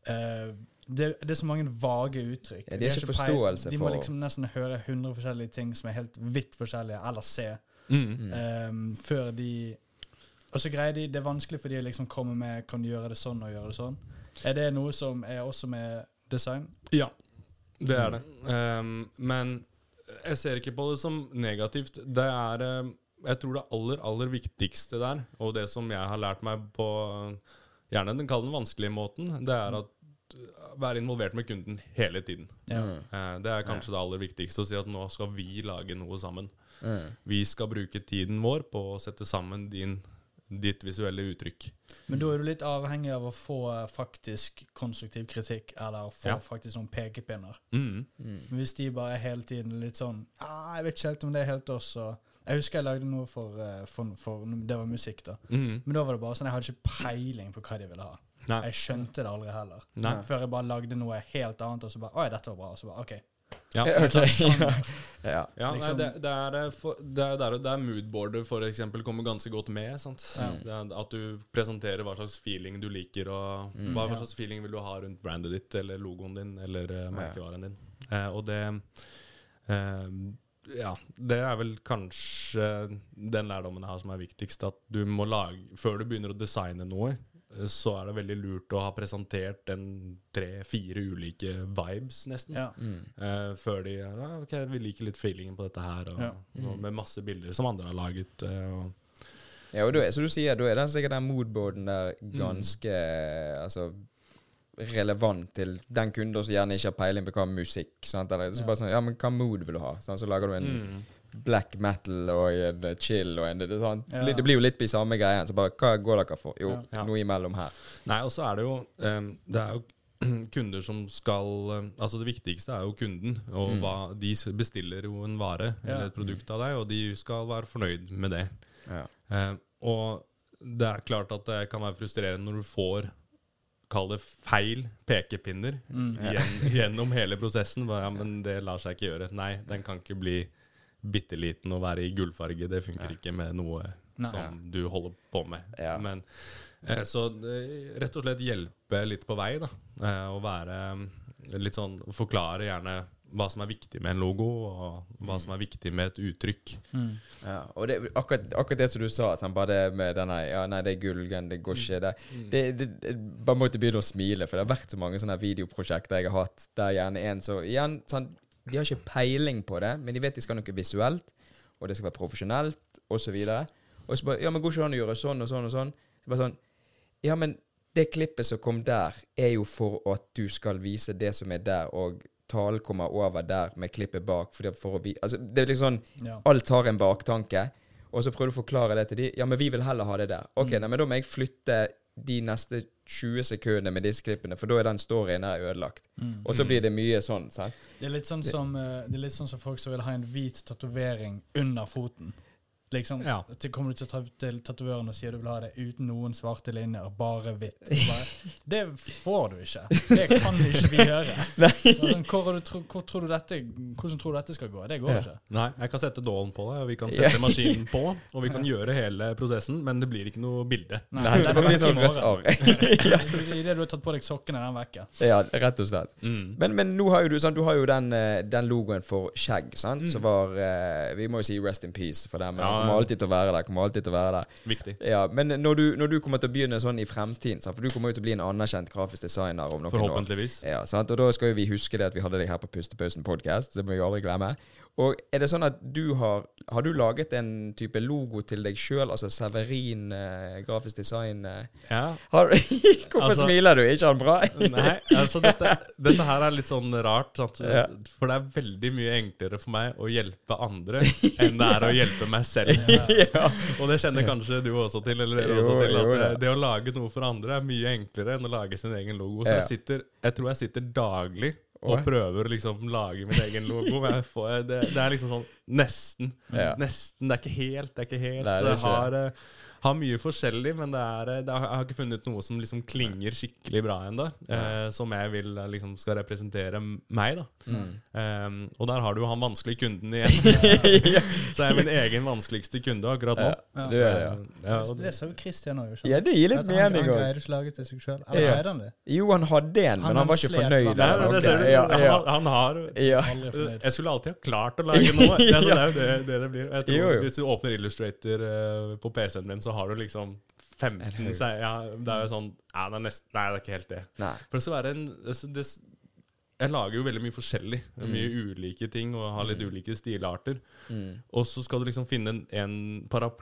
B: eh, det, det er så mange vage uttrykk.
A: Ja, de har
B: De har
A: ikke
B: peil-
A: forståelse
B: De må
A: for-
B: liksom nesten høre 100 forskjellige ting som er helt vidt forskjellige, eller se,
C: Mm.
A: Mm.
B: eh, før de og så greier de, Det er vanskelig for de å liksom komme med kan du gjøre det sånn og gjøre det sånn. Er det noe som er også med design?
C: Ja, det er det. Ehm, men jeg ser ikke på det som negativt. Det er ehm, Jeg tror det aller, aller viktigste der, og det som jeg har lært meg på eh, gjerne den kall den vanskelige måten, det er at eh, være involvert med kunden hele tiden.
B: Ja.
C: Eh, Det er kanskje det aller viktigste å si at nå skal vi lage noe sammen. Vi skal bruke tiden vår på å sette sammen din, ditt visuelle uttrykk.
B: Men da er du litt avhengig av å få eh, faktisk konstruktiv kritikk, eller få
C: Ja.
B: faktisk noen pekepinner.
C: Mm.
B: Men Hvis de bare er hele tiden litt sånn ah, 'Jeg vet ikke helt om det er helt oss', og Jeg husker jeg lagde noe for, eh, for, for Det var musikk, da.
C: Mm.
B: Men da var det bare sånn Jeg hadde ikke peiling på hva de ville ha.
C: Nei.
B: Jeg skjønte det aldri heller.
C: Nei.
B: Før jeg bare lagde noe helt annet, og så bare 'Å, dette var bra'. Og så bare 'OK'.
C: Ja.
A: ja.
C: Ja,
B: Liksom-
C: nei, det, det er, eh, for, det er der, der moodboardet for eksempel kommer ganske godt med. Sant? Det er, at du presenterer hva slags feeling du liker, og hva, hva slags feeling vil du ha rundt brandet ditt, eller logoen din, eller eh, merkevaren din. Eh, og det eh, Ja, det er vel kanskje den lærdommen jeg har som er viktigst, at du må lage Før du begynner å designe noe, eh, så er det veldig lurt å ha presentert en tre-fire ulike vibes, nesten.
B: Ja.
C: Eh, før de ja, Ok, vi liker litt feelingen på dette her, og,
B: Ja.
C: og med masse bilder som andre har laget. eh, og,
A: Ja, og da er, som du sier, da er den sikkert den moodboarden der ganske altså, relevant til den kunden som gjerne ikke har peiling på hva musikk sant? Eller, så bare sånn, ja, men hva mood vil du ha? Sant? Så lager du en black metal og en eh, chill og en det, sånn.
B: Ja.
A: det blir jo litt i samme greien. Så bare, hva går dere for? Jo,
C: Ja.
A: noe imellom her.
C: Nei, og så er det jo eh, Det er jo kunder som skal eh, Altså Det viktigste er jo kunden. Og hva, De s- bestiller jo en vare
B: Ja.
C: eller et produkt av deg, og de skal være fornøyd med det.
A: Ja.
C: Eh, og det er klart at det kan være frustrerende når du får Kall det feil pekepinner gjen, gjennom hele prosessen. Bare, Ja, men det lar seg ikke gjøre. Nei, den kan ikke bli bitte liten og være i gullfarge. Det funker ikke med noe
B: Nei.
C: som du holder på med.
A: Ja.
C: Men, eh, så eh, rett og slett hjelpe litt på vei, da. Eh, og være eh, litt sånn Forklare gjerne hva som er viktig med en logo, og hva som er viktig med et uttrykk.
A: Ja, og det, akkurat, akkurat det som du sa, sånn, bare det med denne Ja, nei, det er gullgen, det går ikke det, det, det, det Bare måtte begynne å smile, for det har vært så mange sånne videoprosjekter jeg har hatt, der gjerne en så Igjen, sånn De har ikke peiling på det, men de vet de skal ha noe visuelt, og det skal være profesjonelt, og så videre. Og så bare Ja, men går ikke det an å gjøre sånn og sånn og sånn? Så bare sånn Ja, men det klippet som kom der, er jo for at du skal vise det som er der, og talen kommer over der med klippet bak, fordi at for å vi... Altså, det er liksom sånn
B: Ja.
A: Alt har en baktanke. Og så prøver du å forklare det til de. Ja, men vi vil heller ha det der. Ok, nei, men da må jeg flytte de neste 20 sekundene med disse klippene, for da er den storyen her ødelagt. Og så blir det mye sånn, sant?
B: Det er litt sånn som, eh, det er litt sånn som folk som vil ha en hvit tatovering under foten. Liksom,
C: Ja.
B: til, Kommer du til, ta- til tatovøren og sier du vil ha det uten noen svarte linjer, bare hvitt? Du Bare, det får du ikke. Det kan ikke vi gjøre. Sånn, Hvor, har du tro, hvor tror du dette, hvordan tror du dette skal gå? Det går
A: Ja.
B: ikke.
C: Nei, jeg kan sette dålen på deg, og vi kan sette maskinen på, og vi kan gjøre hele prosessen, men det blir ikke noe bilde.
B: Nei,
A: Nei, det
B: den er
A: blir
B: vekk i
A: sånn rødt
B: morgen.
A: arr.
B: Idet du har tatt på deg sokkene, er den vekke.
A: Ja, rett og slett.
C: Mm.
A: Men, men nå har jo du, sant, du har jo den, eh, den logoen for skjegg, sant, som var eh, Vi må jo si rest in peace for den, men
C: Ja,
A: den
C: ja.
A: kommer alltid til å være der. kommer alltid til å være der.
C: Viktig.
A: Ja, Men når du, når du kommer til å begynne sånn i fremtiden, sant, for du kommer jo til å bli en anerkjent grafisk designer om noen år.
C: Forhåpentligvis.
A: Ja, sant? Og da skal jo vi huske det at vi hadde deg her på Pustepausen podcast, det må vi jo aldri glemme. Og er det sånn at du har Har du laget en type logo til deg sjøl, altså Severin eh, grafisk design eh?
C: Ja.
A: har, Hvorfor
C: Altså-
A: smiler du? Er ikke han bra?
C: Nei, altså dette, dette her er litt sånn rart, sant?
A: Ja.
C: for det er veldig mye enklere for meg å hjelpe andre enn det er å hjelpe meg selv.
A: ja.
C: Og det kjenner kanskje du også til, eller dere
A: Jo,
C: også til, at
A: jo,
C: det,
A: ja.
C: det å lage noe for andre er mye enklere enn å lage sin egen logo. Så
A: Ja.
C: jeg, sitter, jeg tror jeg sitter daglig og
A: Åh.
C: prøver å liksom lage min egen logo. Men jeg får, det, det er liksom sånn nesten.
A: Ja.
C: Nesten. Det er ikke helt, det er ikke helt.
A: Nei, det er
C: så jeg
A: ikke
C: har, eh, har mye forskjellig, men det er, eh, det er, jeg har ikke funnet noe som liksom klinger skikkelig bra ennå. Eh, som jeg vil eh, liksom skal representere m- meg, da.
A: Mm.
C: Eh, og der har du jo han vanskelige kunden igjen. så jeg er min egen vanskeligste kunde akkurat nå. Ehm,
A: Du er det, ja.
C: Ja, og
B: Det sa jo Christian òg, jo.
A: Ja, det gir litt
B: At han,
A: mening
B: han
A: òg.
B: greide ikke å lage til seg sjøl.
A: Ja.
B: Eller greide han det?
A: Jo, han hadde en, men
B: Han-
A: han var ikke
B: han slet,
A: fornøyd.
B: han.
A: med
C: Nei,
A: den.
C: nei, det ser du.
A: Ok, Ja,
C: Han,
A: ja,
C: har- han har
A: ja.
B: Aldri fornøyd.
C: Jeg skulle alltid ha klart å lage noe. Det er, så det, er jo det, det det blir. Og Jeg tror,
A: Jo, jo.
C: Hvis du åpner Illustrator eh, på PC-en din, så har du liksom 15 se, ja, Det er jo sånn ja, det er nesten, Nei, det er ikke helt det.
A: Nei.
C: For det skal være en det, det, Jeg lager jo veldig mye forskjellig. Mye ulike ting og har litt ulike stilarter.
A: Mm.
C: Og så skal du liksom finne en, en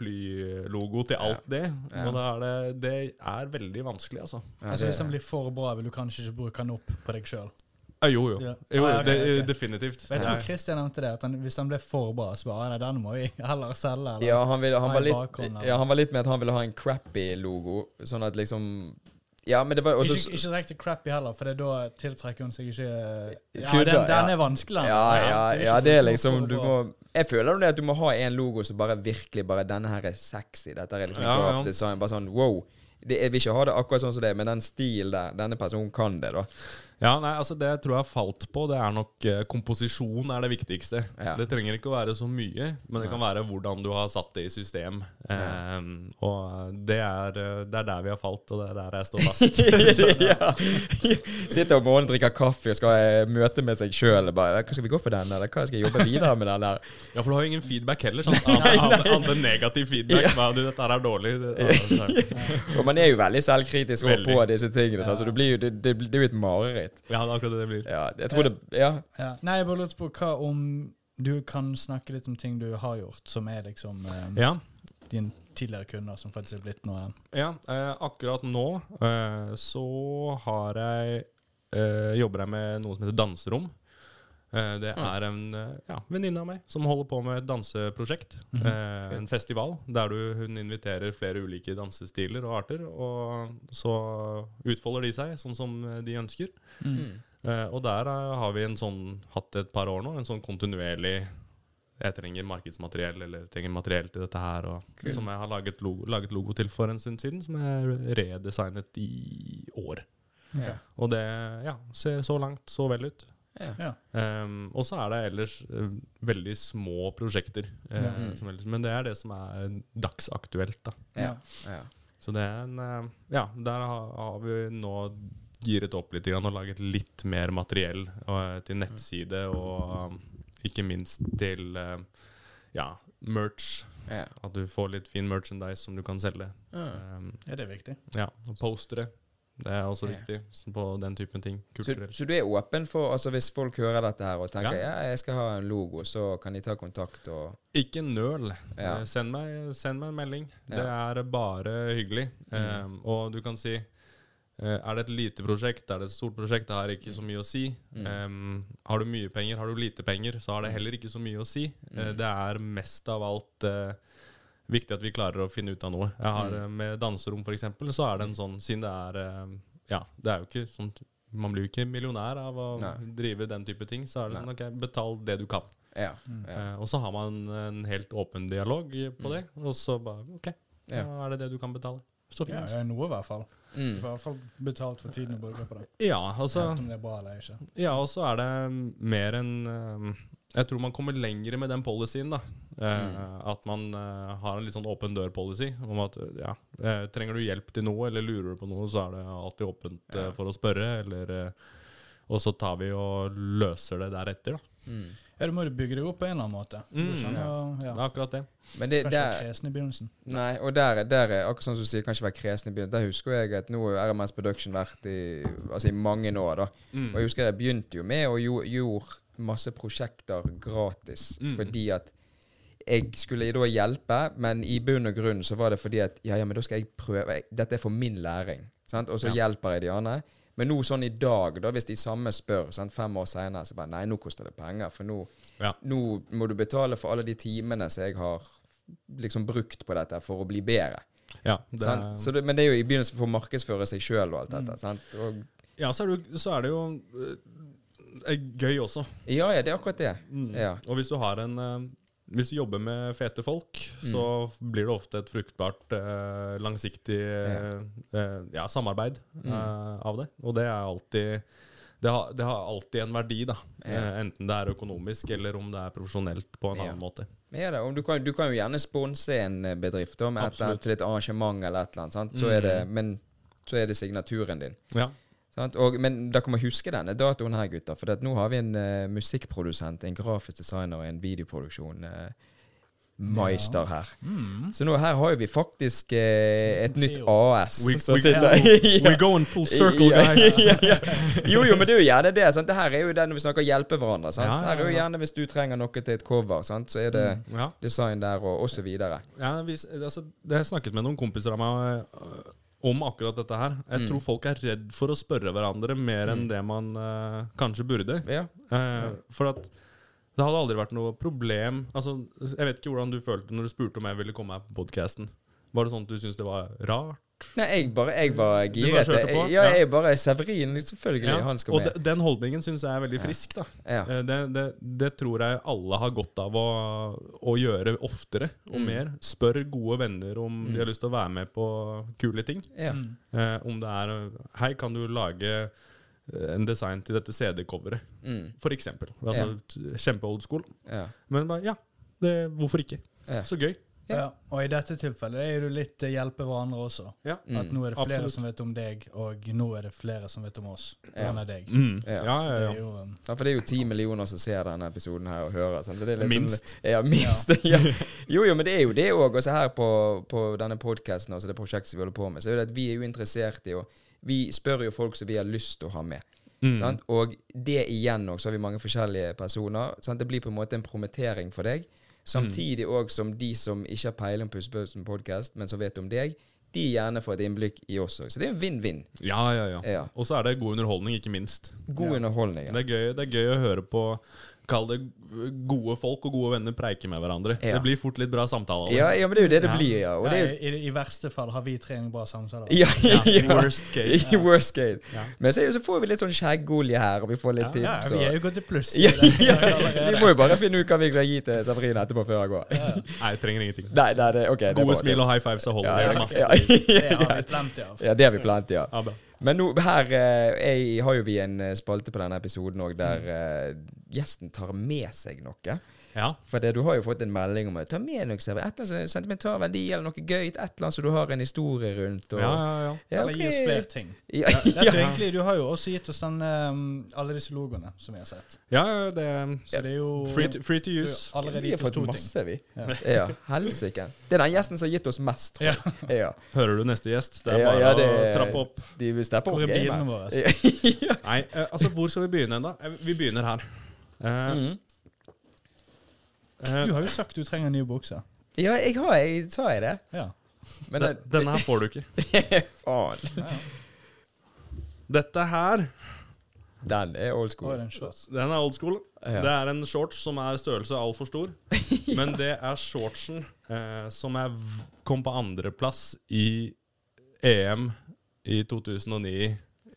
C: paraplylogo til alt det. Og da er det, det er veldig vanskelig, altså.
A: Ja,
B: altså,
A: det-
B: hvis han blir for bra, vil du kanskje ikke bruke han opp på deg sjøl.
C: Ja, jo, jo.
B: Ja.
C: jo, jo
B: Ah, ok,
C: det,
B: ok.
C: Definitivt.
B: Jeg
C: Nei.
B: tror Christian nevnte det, at han, hvis han ble for bra, så bare «Nei, den må vi heller selge. Eller?
A: Ja, han, ville, han,
B: Ha
A: var
B: en
A: litt,
B: bakhånd, eller?
A: ja, han var litt med at han ville ha en crappy logo, sånn at liksom Ja, men det var også
B: ikke, ikke direkte crappy heller, for det er da tiltrekker hun seg ikke eh, Ja,
A: Kunder,
B: den, den
A: ja.
B: er vanskelig. den.
A: Ja,
B: Nei,
A: ja,
B: ikke
A: ja, det er
B: for-
A: liksom
B: for
A: du
B: bra.
A: må, Jeg føler jo det at du må ha en logo som bare virkelig bare Denne her er sexy. Dette er liksom ikke
C: Ja, ja.
A: grafisk design. Bare sånn wow. Det, jeg vil ikke ha det akkurat sånn som det, er, men den stil der Denne personen kan det, da.
C: Ja, nei, altså Det jeg tror jeg falt på, det er nok eh, komposisjon er det viktigste.
A: Ja.
C: Det trenger ikke å være så mye, men det kan være hvordan du har satt det i system. Ehm, og det er, eh, det er der vi har falt, og det er der jeg står fast.
A: ja. Sitter om morgenen, drikker kaffe og skal eh, møte med seg sjøl. Hva skal vi gå for den, eller hva skal jeg jobbe videre med den der?
C: ja, For du har jo ingen feedback heller. Sånn, annet annet- annet enn negativ feedback. Hva, du, dette her er dårlig. Det, altså,
A: Og man er jo veldig selvkritisk over
C: Veldig.
A: på disse tingene, så altså, det, blir jo, det, det, det er jo et mareritt.
C: ja, det er akkurat det det blir.
A: Ja, jeg tror det Ja.
B: Ja. Nei, jeg bare lurte på hva om du kan snakke litt om ting du har gjort, som er liksom eh,
C: Ja,
B: dine tidligere kunder, som faktisk er blitt noe
C: ja eh, akkurat nå eh, så har jeg eh, jobber jeg med noe som heter danserom. Eh, Det er en eh, ja, venninne av meg som holder på med et danseprosjekt. eh, En festival der du, hun inviterer flere ulike dansestiler og arter. Og så utfolder de seg sånn som eh, de ønsker.
A: Mm.
C: Eh, Og der eh, har vi en sånn, hatt et par år nå, en sånn kontinuerlig jeg trenger markedsmateriell eller trenger materiell til dette her. Og, Som jeg har laget logo, laget logo til for en stund siden, som jeg redesignet i år.
A: Ja.
C: Og det ja, ser så langt så vel ut.
A: Ja.
B: Ja.
C: Um, og så er det ellers eh, veldig små prosjekter. eh, som ellers, men det er det som er dagsaktuelt. da.
A: Ja.
B: Ja.
A: ja.
C: Så det er en eh, Ja, der har, har vi nå giret opp litt grann, og laget litt mer materiell eh, til nettside og um, ikke minst til eh, ja, merch.
A: ja.
C: At du får litt fin merchandise som du kan selge.
A: Ah.
C: Um,
B: ja, det er viktig.
C: ja, og Postere. Det er også
A: Ja.
C: viktig så på den typen ting.
A: Så,
C: Kulturelt.
A: så du er åpen for altså Hvis folk hører dette her og tenker ja.
C: Ja.
A: jeg skal ha en logo, så kan de ta kontakt og
C: Ikke nøl.
A: Ja.
C: Eh, Send, meg, send meg en melding. Det er bare hyggelig.
A: Mm.
C: Um, og du kan si eh, Er det et lite prosjekt? Er det et stort prosjekt? Det har ikke så mye å si.
A: Mm.
C: Um, har du mye penger? Har du lite penger? Så har det heller ikke så mye å si.
A: Mm.
C: Eh, det er mest av alt eh, viktig at vi klarer å finne ut av noe. Jeg
A: Mm.
C: har eh, Med danserom, for eksempel, så er det en sånn Siden det er eh, Ja, det er jo ikke sånn Man blir jo ikke millionær av å
A: Nei.
C: drive den type ting. Så er det sånn OK, betal det du kan.
A: Ja. ja.
C: Eh, og så har man en helt åpen dialog i- på det, og så bare OK,
A: Ja.
C: da er det det du kan betale. Så
B: Ja,
C: fint.
B: det er noe, i hvert fall. Du
A: Mm.
B: får i hvert fall betalt for tiden du bruker på det.
C: Ja, og så
B: Enten om det er bra eller ikke.
C: ja, og så er det mer enn eh, Jeg tror man kommer lenger med den policyen, da. Eh, At man eh, har en litt sånn åpen dør-policy om at ja, eh, trenger du hjelp til noe, eller lurer du på noe, så er det alltid åpent eh, for å spørre, eller eh, Og så tar vi og løser det deretter, da.
A: Mm.
B: Ja, du må jo bygge deg opp på en eller annen måte. Du
C: Mm,
B: skjønner, og-
C: Det
B: ja.
C: er akkurat det.
A: Men det,
B: Kanskje
A: der,
B: være kresen i begynnelsen.
A: Nei, og der, der er akkurat sånn som du sier, kanskje være kresen i begynnelsen. Der husker jeg at nå har RMS Production vært i, altså i mange år, da. Og jeg husker jeg begynte jo med å jo, gjorde masse prosjekter gratis fordi at jeg skulle da hjelpe, men i bunn og grunn så var det fordi at ja, ja, men da skal jeg prøve. Jeg- Dette er for min læring. Sant? Og så hjelper jeg de andre. Men nå sånn i dag, da, hvis de samme spør sant, fem år senere, så bare nei, nå koster det penger, for nå
C: Ja.
A: nå må du betale for alle de timene som jeg har liksom brukt på dette for å bli bedre.
C: Ja, det er, Mm.
A: sant? Så det, men det er jo i begynnelsen for å markedsføre seg sjøl og alt dette. Sant? Og,
C: ja så, er det, jo- så er det jo eh, gøy også.
A: ja, ja, det er akkurat det. Ja.
C: Og hvis du har en eh, Hvis du jobber med fete folk,
A: Mm.
C: så f- blir det ofte et fruktbart, eh, langsiktig eh, eh, ja, samarbeid
A: Mm.
C: eh, av det. Og det er alltid det har, det har alltid en verdi, da. Eh, enten det er økonomisk, eller om det er profesjonelt på en
A: Ja.
C: annen måte.
A: Men er det, og du, kan, du kan jo gjerne sponse en eh, bedrift da, med et eller annet, til et arrangement eller et eller annet. Sant? Så er det,
C: Mm.
A: men så er det signaturen din.
C: Ja.
A: Sant? Og, men dere må huske denne datoen her, gutter. For at nå har vi en eh, musikkprodusent, en grafisk designer og en videoproduksjon. eh, Meister her. Så nå her har jo vi faktisk eh, et nytt AS
C: We-
A: som
C: we-
A: sitter
C: We're going full circle,
A: Ja,
C: guys!
A: ja, ja. Jo, jo, men det er jo gjerne det. Sant? Det her er jo det når vi snakker hjelpe hverandre. Sant?
C: Ja, ja,
A: Her er jo
C: ja. Mm.
A: gjerne hvis du trenger noe til et cover, sant? så er det
C: Ja.
A: design der og, og så videre.
C: Ja, hvis, altså, det har jeg snakket med noen kompiser av meg øh, om akkurat dette her.
A: Mm.
C: Jeg tror folk er redd for å spørre hverandre mer enn det man øh, kanskje burde.
A: Ja.
C: Eh, for at det hadde aldri vært noe problem Altså, Jeg vet ikke hvordan du følte når du spurte om jeg ville komme her på podkasten. Var det sånn at du syntes det var rart?
A: Nei, jeg bare, jeg bare
C: Du bare
A: giret.
C: kjørte
A: Jeg,
C: på?
A: ja,
C: Ja.
A: jeg bare Severin, selvfølgelig.
C: Ja,
A: Han skal
C: Og
A: med.
C: de, den holdningen syns jeg er veldig frisk. da
A: Ja.
C: Eh, det, det, det tror jeg alle har godt av å, å gjøre oftere og
A: Mm.
C: mer. Spør gode venner om de har lyst til å være med på kule ting.
A: Ja.
C: Eh, om det er Hei, kan du lage eh, en design til dette CD-coveret?
A: Mm.
C: For eksempel. Altså, t- Kjempe old school.
A: Ja.
C: Men bare, ja, det, hvorfor ikke?
A: Ja.
C: Så gøy.
A: Ja.
B: Ja, og i dette tilfellet er du litt eh, hjelpe hverandre også.
C: Ja.
A: Mm.
B: At nå er det flere
C: Absolutt.
B: som vet om deg, og nå er det flere som vet om oss.
A: Ja.
B: enn av deg.
C: Mm.
A: Ja.
C: Ja, ja,
B: Det
C: ja.
B: er jo, um,
A: Ja, for det er jo ti millioner som ser denne episoden her og hører. Sant? Så det er litt
C: Minst.
A: Sånn, ja, minst. Ja. Jo, jo, men det er jo det òg. Også altså her på, på denne podkasten og det prosjektet vi holder på med, så er det at vi er jo interessert i å Vi spør jo folk som vi har lyst til å ha med. Sant? Og det igjen òg, så har vi mange forskjellige personer. Sant? Det blir på en måte en promotering Mm. for deg. Samtidig òg som de som ikke har peiling på Husbøsen podkast, men som vet om deg, de gjerne får et innblikk i oss òg. Så det er en vinn-vinn.
C: Ja, ja, ja.
A: Ja.
C: Og så er det god underholdning, ikke minst.
A: God underholdning. Ja.
C: Det, er gøy, det er gøy å høre på Kall det gode folk og gode venner preike med hverandre.
A: Ja.
C: Det blir fort litt bra samtale. av det.
A: Ja, ja, men det er jo det det blir, ja. Og det er jo
B: I, i, I verste fall har vi tre en bra samtale.
A: ja, ja,
C: Ja, worst case.
A: I worst case.
C: Ja.
A: Men så, er jo- så får vi litt sånn skjeggolje her, og vi får litt
B: Ja,
A: tips.
B: vi er
A: Og,
B: jo gått i pluss. i
A: ja,
B: det.
A: ja, vi må jo bare finne ut hva vi skal gi til Sabrina etterpå før jeg går.
C: Nei, jeg trenger ingenting.
A: Nei, nei, det, ok. Det er bra,
C: Gode
A: det.
C: smil og high fives er
A: ja,
C: holder.
A: ja,
C: det er masse.
A: ja, ja,
B: Det har vi plenty av.
A: ja, det har vi plenty av.
C: Ja, bra.
A: Men nå, her eh, jeg, har jo vi en eh, spalte på denne episoden òg
B: Mm.
A: der eh, gjesten tar med seg noe.
C: ja.
A: For det, du har jo fått en melding om å ta med noe server- et eller annet sentimentalverdi eller noe gøy. Et eller annet som du har en historie rundt. Og,
C: Ja, ja, ja.
A: Ja,
B: Eller gi oss
A: ok.
B: flere ting.
A: Ja,
B: Det er
A: ja.
B: jo egentlig, du har jo også gitt oss den, um, alle disse logoene som vi har sett.
C: ja ja, det er
B: Så det er jo
C: free to, free to
B: du har
C: use.
B: allerede
A: Vi har
B: gitt oss
A: fått
B: to ting.
A: masse, vi.
B: Ja.
A: Ja, Helsike. Det er den gjesten som har gitt oss mest, tror jeg. Ja.
C: Hører du neste gjest? Det er
A: Ja,
C: bare
A: ja, det
C: å
A: er-
C: trappe opp.
A: De vil steppe
B: Hvor
A: opp
B: er bilene
A: gamet.
B: våre?
C: Nei, eh, altså, hvor skal vi begynne da? Eh, Vi begynner her. Eh,
A: Mhm.
C: eh,
B: Du har jo sagt du trenger nye bukser.
A: Ja, jeg har jeg, sa jeg det.
B: Ja.
A: Men
C: den, denne her får du ikke.
A: faen.
B: ja, ja.
C: Dette her,
A: Den er old
B: Og
A: school.
B: en shorts.
C: den er old school.
A: Ja.
C: Det er en shorts som er størrelse altfor stor. Men det er shortsen eh, som er, v- kom på andreplass i EM i 2009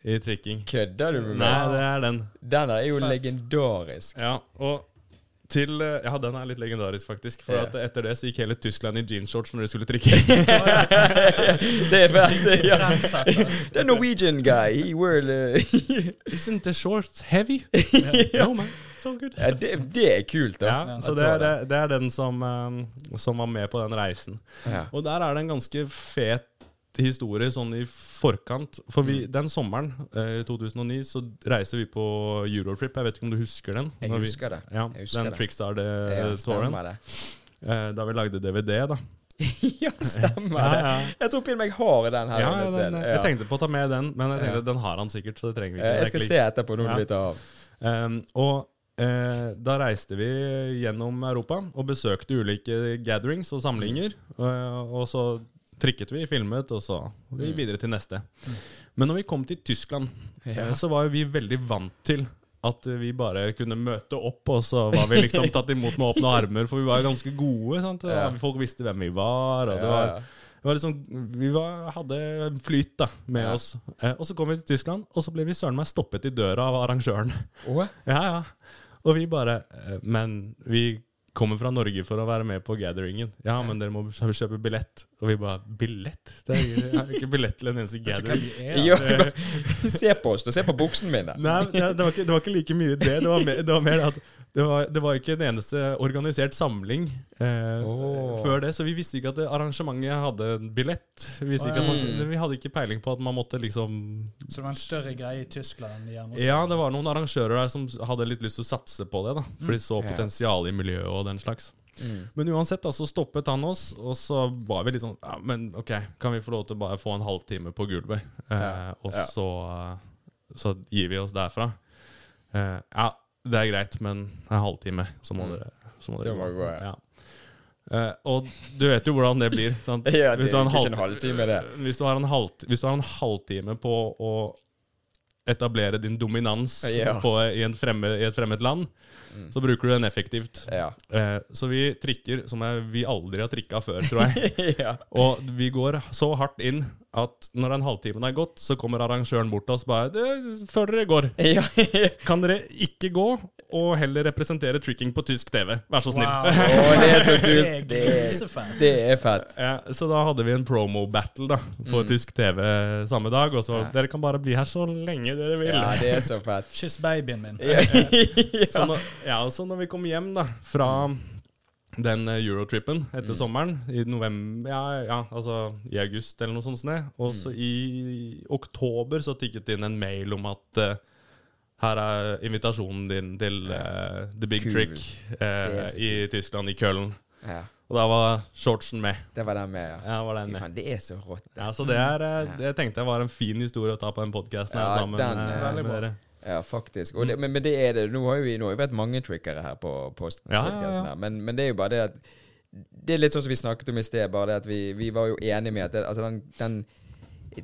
C: i trikking.
A: Kødder du med
C: Nei,
A: meg?
C: det er den.
A: Den der er jo
B: Fett.
A: legendarisk.
C: Ja, og til eh, Ja, den er litt legendarisk, faktisk. For
A: Ja.
C: at etter det så gikk hele Tyskland i jeansshorts når de skulle trikke.
A: det er fett. Ja.
B: Trendsetter.
A: Det er Norwegian guy. eh, He were,
C: Isn't the shorts heavy? No, man. It's all good.
A: ja, det, det er kult, da.
C: Ja, så det er, det, det er den som, eh, som var med på den reisen.
A: Ja.
C: Og der er det en ganske fet historie sånn i forkant. For
A: Mm.
C: vi, den sommeren eh, i 2009 så reiste vi på Eurotrip. Jeg vet ikke om du husker den?
A: Jeg
C: Når vi- eh,
A: husker det.
C: Ja,
A: Jeg husker
C: den
A: det. Ja,
C: Trickstar-touren.
A: stemmer det.
C: da vi lagde DVD, da.
A: ja, stemmer det. Jeg tror pinlig jeg har den her.
C: Ja,
A: inne
C: ja,
A: et sted.
C: den, eh, jeg tenkte på å ta med den, men jeg tenkte den har han sikkert. så det trenger vi ikke.
A: Eh, Jeg
C: Det er
A: skal
C: ikke
A: se etterpå når
C: Ja.
A: du blir tatt av.
C: Um, og eh, da reiste vi gjennom Europa og besøkte ulike gatherings og samlinger. eh, og så trikket vi, filmet, og så vi
A: Mm.
C: videre til neste. Men når vi kom til Tyskland, eh, så var jo vi veldig vant til at vi bare kunne møte opp, og så var vi liksom tatt imot med åpne armer, for vi var jo ganske gode. sant?
A: Ja.
C: Og Folk visste hvem vi var. og det
A: Ja,
C: var...
A: ja.
C: Det var liksom, vi var, hadde flyt da, med
A: Ja.
C: oss. Eh, og så kom vi til Tyskland, og så ble vi søren meg stoppet i døra av arrangøren.
A: Åh?
C: Ja, ja. Og vi bare eh, Men vi kommer fra Norge for å være med på gatheringen. Ja, men dere må kjø- kjøpe billett. Og vi bare Billett? Det er, jeg har ikke billett til en eneste
B: Vet du hva
C: gathering.
B: de er?
A: Jo, se på oss, da. Se på buksene mine.
C: Nei, det, det, var ikke, det var ikke like mye det. Det var mer, det var mer at det var, det var ikke en eneste organisert samling eh,
A: Åh.
C: før det, så vi visste ikke at det, arrangementet hadde en billett. Vi, visste ikke at man, vi hadde ikke peiling på at man måtte liksom
B: Så det var en større greie i Tyskland enn de andre.
C: Ja, det var noen arrangører der som s- hadde litt lyst til å satse på det, da, for de så
A: Ja.
C: potensial i miljøet og den slags.
A: Mm.
C: Men uansett, da, så stoppet han oss, og så var vi litt sånn ja, Men OK, kan vi få lov til å bare få en halvtime på gulvet, eh,
A: Ja.
C: og
A: Ja.
C: Så, så gir vi oss derfra? Eh, ja, det er greit, men en halvtime, så må
A: Mm.
C: dere, så må
A: Det
C: dere
A: må gå, ja.
C: Eh, og du vet jo hvordan det sånn blir. Sant?
A: Ja, det
C: Hvis du har
A: er
C: en
A: jo ikke en
C: halvt-
A: halvtime, det.
C: Hvis du har en, halvt, hvis du har en halvtime på å etablere din dominans
A: Ja. Mm.
C: på, i, en fremmed, i et fremmed land, så bruker du den effektivt.
A: Ja.
C: Eh, så vi trikker som jeg, vi aldri har trikka før, tror jeg.
A: ja.
C: Og vi går så hardt inn at når den halvtimen er gått, så kommer arrangøren bort til oss bare «Du, Før dere går,
A: ja.
C: kan dere ikke gå og heller representere tricking på tysk TV? Vær så snill.
A: Å, det er så kult. Det er,
B: grisefett.
A: det er fett.
C: Ja, Eh, så da hadde vi en promo-battle da for tysk TV samme dag. Og så var det, dere kan bare bli her så lenge dere vil.
A: Ja, det er så fett.
B: Kyss babyen min.
C: Så, når, ja, og så når vi kom hjem da fra den eh, eurotrippen etter
A: Mm.
C: sommeren, i november ja, ja, altså i august eller noe sånt, sånn, og
A: Mm.
C: så i oktober så tikket det inn en mail om at eh, her er invitasjonen din til eh, The Big
A: Kul.
C: Trick eh,
A: Det er så
C: i Tyskland, i Köln.
A: Ja,
C: Og da var shortsen med.
A: det var den med, ja.
C: Ja, var
A: Fy
C: den med.
A: faen, det er så rått.
C: Ja, så det, er, eh, det tenkte jeg var en fin historie å ta på den podkasten
A: Ja,
C: sammen
A: den
C: eh,
A: er-
C: med dere.
A: Ja, faktisk. Og det, men, men det er det. Nå har jo vi, nå har vi vært mange trickere her på, på
C: Ja,
A: podcasten
C: ja, ja.
A: her, men, men det er jo bare det at det er litt sånn som vi snakket om i sted, bare det at vi, vi var jo enige med at det, altså den, den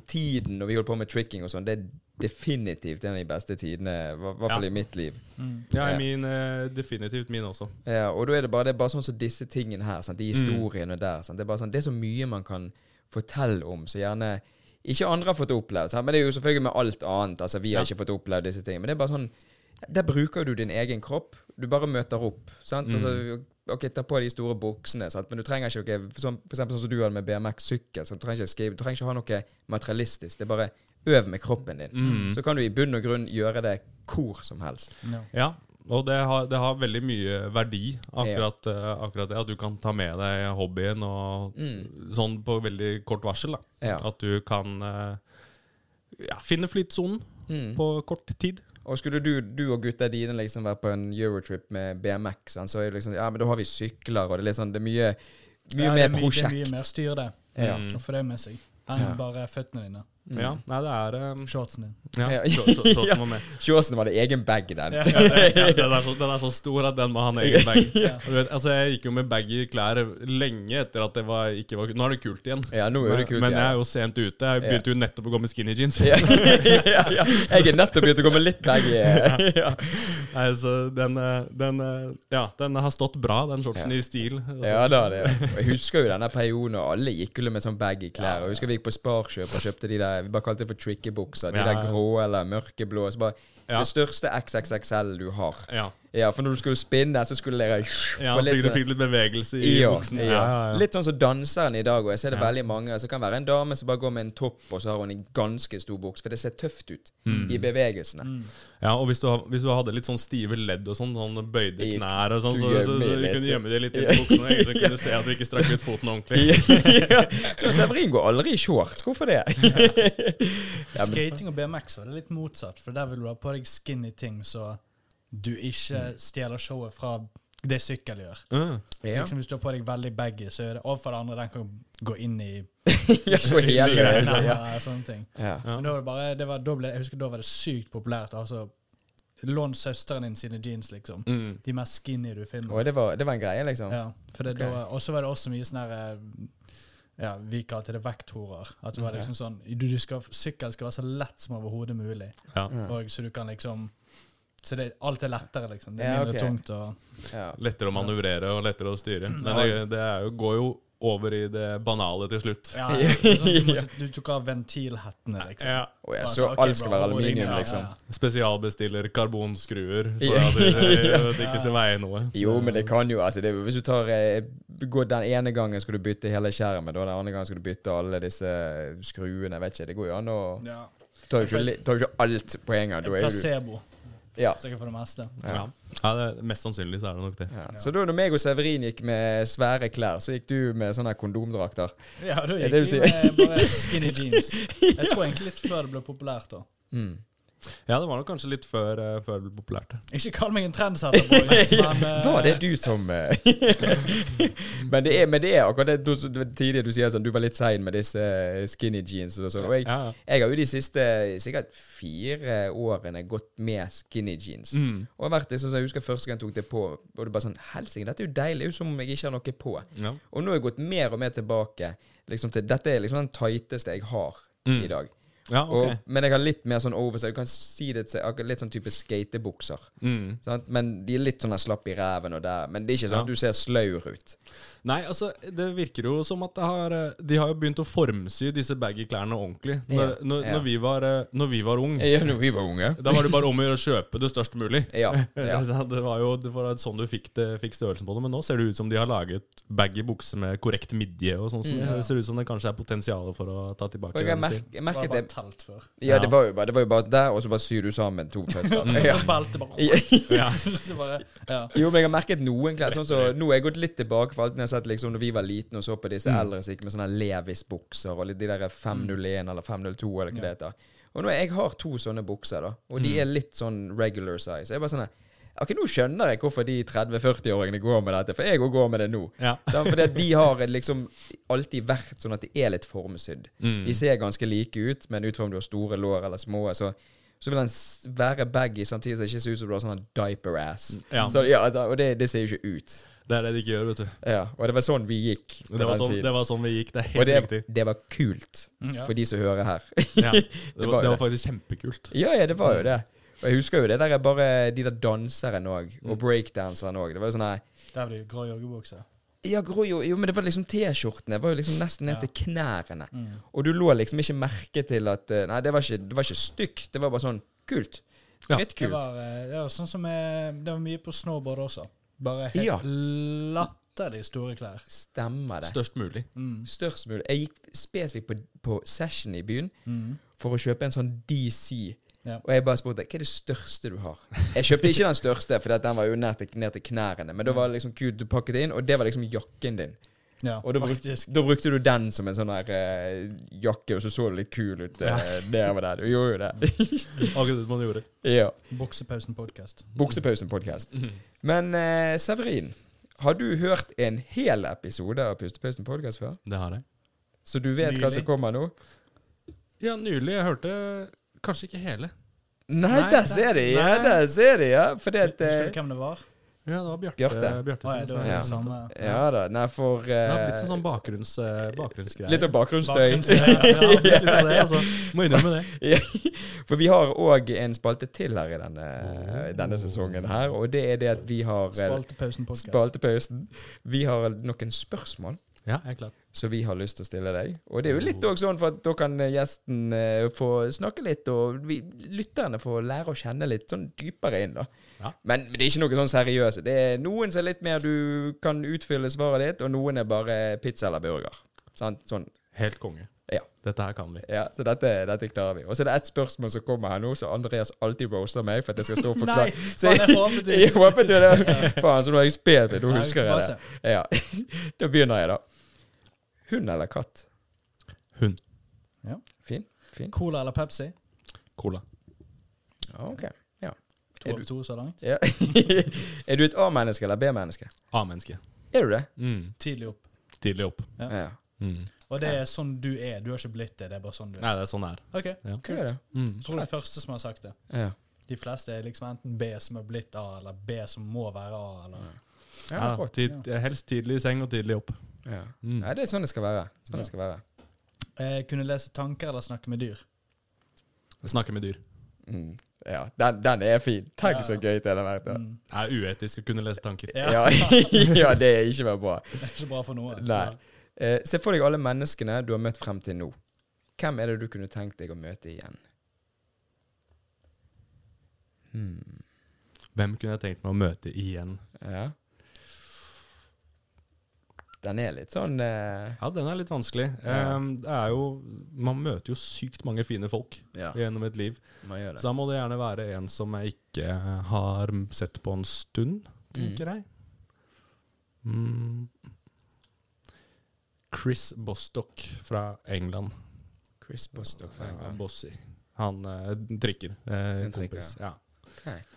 A: tiden når vi holdt på med tricking og sånn, det er definitivt en av de beste tidene, i hvert fall
C: Ja.
A: i mitt liv.
C: Ja,
A: Ja.
C: min, eh, definitivt min også.
A: Ja, og da er det bare, det er bare sånn som disse tingene her, sant? de historiene der. Sant? Det, er bare sånn, det er så mye man kan fortelle om, så gjerne ikke andre har fått opplevd. Sant? Men det er jo selvfølgelig med alt annet. Altså, vi har ikke fått opplevd disse tingene. Men det er bare sånn, der bruker du din egen kropp. Du bare møter opp. Sant? Altså, ok, ta på de store buksene, sant? men du trenger ikke ok, sånn, For eksempel sånn som du hadde med BMX-sykkel. sant? Du trenger ikke skrive, du trenger ikke ha noe materialistisk. Det er bare øv med kroppen din. Så kan du i bunn og grunn gjøre det hvor som helst.
B: Ja.
C: Ja, og det har, det har veldig mye verdi, akkurat, eh, akkurat det. At du kan ta med deg hobbyen og sånn på veldig kort varsel. Da.
A: Mm. Ja.
C: At du kan eh, ja, finne flytsonen
A: Mm.
C: på kort tid.
A: Og skulle du, du og gutta dine liksom være på en Eurotrip med BMX, sant, så er det liksom Ja, men da har vi sykler, og det er litt sånn Det er mye, mye
B: Ja, det er
A: mer prosjekt.
B: Det er mye mer styr, det.
A: Ja.
B: Og få det med seg. Enn bare føttene dine.
C: Ja, nei, det er eh,
B: Shortsen din.
C: ja,
A: Mm. Ja.
C: så, så, så, som var med.
A: Shortsen var det egen bag i den.
B: Ja.
C: Ja, det- ja, den, er så, den er så stor at den må ha en egen bag. Du vet, altså, jeg gikk jo med bag i klær lenge etter at det var, ikke var kult. Nå er det kult igjen.
A: Ja, nå er det kult
C: men, men
A: igjen.
C: jeg er jo sent ute. Jeg begynte jo nettopp å gå med skinny jeans.
A: Ja. Jeg er nettopp begynt å gå med litt bag i
C: ja. Nei, så den, eh, den eh, Ja, den har stått bra, den shortsen
A: Ja.
C: i stil. Altså.
A: Ja da, det og Jeg husker jo denne perioden og alle gikk jo med sånn bag i klær. Og jeg husker vi gikk på Sparkjøp og kjøpte de der Vi bare kalte det for trickebukser. De
C: Ja.
A: der grå eller mørkeblå. Så bare
C: Ja.
A: Det største XXXL du har.
C: Ja.
A: Ja, for når du skulle spinne, så skulle dere
C: ja
A: få
C: fikk,
A: litt
C: du
A: sånn-
C: fikk litt bevegelse i
A: Ja,
C: buksen.
A: ja. Litt sånn som danseren i dag, og jeg ser det veldig mange. Så kan det være en dame som bare går med en topp, og så har hun en ganske stor buks, for det ser tøft ut i bevegelsene.
B: Mm.
C: Ja, og hvis du, har- hvis du hadde litt sånn stive ledd og sånn, sånn bøyde
A: I-
C: knær og sånn,
A: du
C: så, så, så,
A: gjemmer
C: du
A: litt.
C: kunne gjemme det litt inn i buksene, ikke, så kunne du se at du ikke strakk ut foten ordentlig.
A: ja. Så Severin går aldri i shorts. Hvorfor det? Ja, men-
B: Skating og BMX så er det litt motsatt, for der vil du ha på deg skinny ting så du ikke stjeler showet fra det sykkel gjør.
C: Mm.
A: Mm. Ja.
B: Liksom Hvis du har på deg veldig baggy, så er det overfor det andre den kan gå inn i
A: Ja, for hele greia,
B: skreina
A: ja.
B: og sånne ting.
A: Ja.
C: Ja.
B: Men da var det bare, det var, da ble, jeg husker da var det sykt populært. altså Lån søsteren din sine jeans, liksom.
C: Mm.
B: De mest skinny du finner.
A: Og det var, det var en greie, liksom.
B: Ja, for det,
A: Ok.
B: da, og så var det også mye sånn her eh, ja, Vi kalte det vekthorer. At det var liksom sånn du, du skal, Sykkel skal være så lett som overhodet mulig.
C: Ja.
A: Mm.
B: Og Så du kan liksom Så det, alt er lettere, liksom. Det er
A: Ja,
B: mindre
A: ok.
B: tungt og
A: Ja.
C: Lettere å manøvrere og lettere å styre.
A: Mm.
C: Men det, det er jo, går jo over i det banale til slutt.
B: ja, det er sånn, du, måtte, du tok av ventilhettene, liksom.
C: Ja.
A: Og jeg
B: Bare
A: så
B: ok,
A: alt skal
B: bra,
A: være
B: og
A: aluminium,
B: ringene, ja,
A: liksom.
B: ja.
C: Spesialbestiller karbonskruer for
A: Ja.
C: at det, at det ikke skal veie noe.
A: Jo, men
B: Mm.
A: det kan jo altså, det, Hvis du tar eh, går Den ene gangen skal du bytte hele skjermen, og den andre gangen skal du bytte alle disse skruene. Jeg vet ikke, Det går jo an å
B: Ja.
A: Du tar jo ikke, li- tar jo ikke alt på en gang. Da er jo du
B: Placebo,
A: Ja.
B: sikkert for det meste.
C: Ja. ja det, mest sannsynlig så er det nok det.
A: Ja. Så da når meg og Severin gikk med svære klær, så gikk du med sånne kondomdrakter.
B: Ja, da
A: Ja,
B: gikk
A: det vil
B: vi med bare skinny jeans. Jeg tror egentlig litt før det ble populært, da.
C: Ja, det var nok kanskje litt før, eh, før det ble populært. ja.
B: Ikke kall meg en trendsetter, boys, men eh,
A: Var det du som eh, men, det er, men det er akkurat det, du, det var tidligere du sier sånn, du var litt sein med disse eh, skinny jeans og sånn. Og jeg,
C: Ja, ja.
A: jeg har jo de siste sikkert fire årene gått med skinny jeans.
C: Mm.
A: Og har vært det sånn som jeg husker første gang jeg tok det på, og det bare sånn Helsike, dette er jo deilig. Det er jo som om jeg ikke har noe på.
C: Ja.
A: Og nå har jeg gått mer og mer tilbake liksom til Dette er liksom den tighteste jeg har
C: Mm.
A: i dag.
C: Ja, ok.
A: Og, men jeg har litt mer sånn oversize. Du kan si det til akkurat litt sånn type skatebukser. Sant? Men de er litt sånn der slapp i ræven og der. Men det er ikke sånn at du ser slaur ut.
C: Nei, altså, det virker jo som at det har, eh, de har jo begynt å formsy disse baggy klærne ordentlig. Når,
A: Ja,
C: når,
A: ja.
C: når vi var, eh, når vi var ung,
A: Ja, når vi var unge.
C: da var det bare om å gjøre å kjøpe det størst mulig.
A: Ja. ja.
C: Det var jo det var sånn du fikk, det, fikk størrelsen på det, men nå ser det ut som de har laget baggy bukser med korrekt midje og sånn. så Det ser ut som det kanskje er potensial for å ta tilbake.
A: Og jeg,
C: den
A: mer
C: stilen.
A: jeg
B: det var
A: merket det.
B: bare telt før.
A: Ja, Mm. det var jo bare, det var jo bare der, og så bare syr du sammen to føtter.
B: Og
A: Ja.
B: så belte bare
C: Ja.
B: Så bare ja.
A: Jo, men jeg har merket noen klær. Sånn så, nå har jeg gått litt tilbake for alt jeg har sett liksom, når vi var liten og så på disse eldre som gikk med sånne Levis-bukser og litt de der 501 eller 502 eller hva det heter. Og nå, Jeg har to sånne bukser, da, og de er litt sånn regular size. Jeg er bare sånn her, Ok, Nå skjønner jeg hvorfor de 30-40-åringene går med dette, for jeg òg går med det nå.
C: Ja.
A: Sant? Fordi at de har liksom alltid vært sånn at de er litt formsydd.
C: Mm.
A: De ser ganske like ut, men ut fra om du har store lår eller små, så, så vil den s- være baggy samtidig som det ikke ser ut som du har sånn diaper-ass.
C: Mm, Ja.
A: Så, ja, altså, og det, det ser jo ikke ut.
C: Det er det de ikke gjør, vet du.
A: Ja, og det var sånn vi gikk. på
C: Det var
A: den
C: sånn,
A: tiden.
C: det var sånn vi gikk. Det er
A: og
C: helt
A: det,
C: riktig.
A: det var kult
B: Mm, ja.
A: for de som hører her.
C: Ja. Det,
A: Det var jo
C: var, det var faktisk kjempekult.
A: ja, ja, det var jo det. Og jeg husker jo det der er bare de der danserne òg,
C: Mm.
A: og breakdanserne òg. Det var jo sånn her
B: Der blir det grå joggebukse.
A: Ja, gro, jo, jo, men det var liksom T-skjortene var jo liksom nesten ned
B: Ja.
A: til knærne.
B: Mm.
A: Og du lå liksom ikke merke til at eh, Nei, det var ikke, det var ikke stygt. Det var bare sånn kult.
C: Ja.
B: Det
A: Drittkult.
B: var, eh, det var sånn som eh, Det var mye på snowboard også. Bare helt
A: Ja.
B: latterlig store klær. Mm.
A: Stemmer det.
C: Størst mulig.
A: Størst mulig. Jeg gikk spesifikt på, på session i byen
B: Mm.
A: for å kjøpe en sånn DC.
B: Ja.
A: Og jeg bare spurte hva er det største du har. Jeg kjøpte ikke den største, for den var jo ned til, ned til knærne. Men da var det liksom kult du pakket inn, og det var liksom jakken din.
B: Ja,
A: Og da, brukte,
B: faktisk.
A: da brukte du den som en sånn der eh, jakke, og så så du litt kul ut eh, nedover der. Du gjorde jo det.
C: Akkurat det man gjorde.
A: ja.
B: Buksepausen podcast.
A: Buksepausen-podkast. Men eh, Severin, har du hørt en hel episode av Pustepausen-podkast før?
C: Det har jeg.
A: Så du vet hva
B: Nylig.
A: som kommer nå?
C: Ja, nylig. Jeg hørte kanskje ikke hele.
A: Nei,
C: Nei,
A: der ser de! Ja,
C: nei.
A: der ser de, ja! Fordi at
B: Husker
A: eh,
B: du hvem det var?
C: Ja, det var Bjarte.
A: Bjarte.
C: Bjarte
B: Ah, ja,
C: som
B: det var
A: Ja.
B: det samme.
A: Ja da. Nei, for eh,
C: Ja, litt sånn sånn bakgrunns, eh, bakgrunnsgreier.
A: Litt sånn bakgrunnsstøy.
B: Bakgrunnsstøy, ja.
C: ja, litt av det, altså. Må innrømme det.
A: Ja, For vi har òg en spalte til her i denne, i denne sesongen her, og det er det at vi har eh,
B: Spaltepausen podcast.
A: Spaltepausen. Vi har noen spørsmål
C: Ja, jeg er klar.
A: som vi har lyst til å stille deg. Og det er jo litt òg sånn for at da kan gjesten eh, få snakke litt, og vi, lytterne får lære å kjenne litt sånn dypere inn, da.
C: Ja.
A: Men det er ikke noe sånn seriøse. Det er noen som er litt mer du kan utfylle svaret ditt, og noen er bare pizza eller burger. Sant? Sånn.
C: Helt konge.
A: Ja.
C: Dette her kan vi.
A: Ja, så dette, dette klarer vi. Og så er det ett spørsmål som kommer her nå, så Andreas alltid roaster meg for at jeg skal stå og forklare.
B: Nei,
A: så
B: faen, jeg håpet du
A: jeg
B: ikke
A: håpet jo det. Faen, så nå har jeg spilt det. Nå
B: Nei,
A: husker jeg det. Ja. Da begynner jeg, da. Hund eller katt?
C: Hund.
A: Fin. Fin.
B: Cola eller Pepsi?
C: Cola.
A: Ja, ok. Ja.
B: To
A: Er
B: av
A: du-
B: to så langt.
A: ja. er du et A-menneske eller B-menneske?
C: A-menneske.
A: Er du det?
C: Mm.
B: Tidlig opp.
C: Tidlig opp.
B: Ja.
A: Ja.
C: Mm.
B: Og det er sånn du er. Du har ikke blitt det, det er bare sånn du er.
C: Nei, det er sånn det er.
B: Ok,
C: Ja.
A: Hva er det?
C: Mm.
B: Jeg tror det er første som har sagt det.
A: Ja.
B: De fleste er liksom enten B som er blitt A, eller B som må være A, eller
A: Ja,
C: Ja,
A: akkurat.
C: tid, helst tidlig i seng og tidlig opp.
A: Ja.
C: Mm.
A: Nei, det er sånn det skal være. Sånn det skal være.
B: eh, Kunne lese tanker eller snakke med dyr.
C: Snakke med dyr.
A: Mm. Ja, den, den er fin. Tenk så
B: Ja.
A: gøy til den har vært. da.
B: Mm.
C: Det er uetisk å kunne lese tanker.
B: Ja.
A: Ja. ja, det er ikke bare bra.
B: Det er ikke bra for noe.
A: Nei. Eh, se for deg alle menneskene du har møtt frem til nå. Hvem er det du kunne tenkt deg å møte igjen? Hmm.
C: Hvem kunne jeg tenkt meg å møte igjen?
A: Ja. Den er litt sånn eh,
C: Ja, den er litt vanskelig.
A: Ja.
C: Ehm, det er jo, man møter jo sykt mange fine folk
A: Ja,
C: gjennom et liv.
A: man gjør
C: Så da må det gjerne være en som jeg ikke har sett på en stund, tenker jeg. Mm. Chris Bostock fra England.
A: Chris Bostock.
C: Ja, Bossy. Han eh, drikker. Eh,
A: En drikker,
C: kompis. Ja.
A: Ok.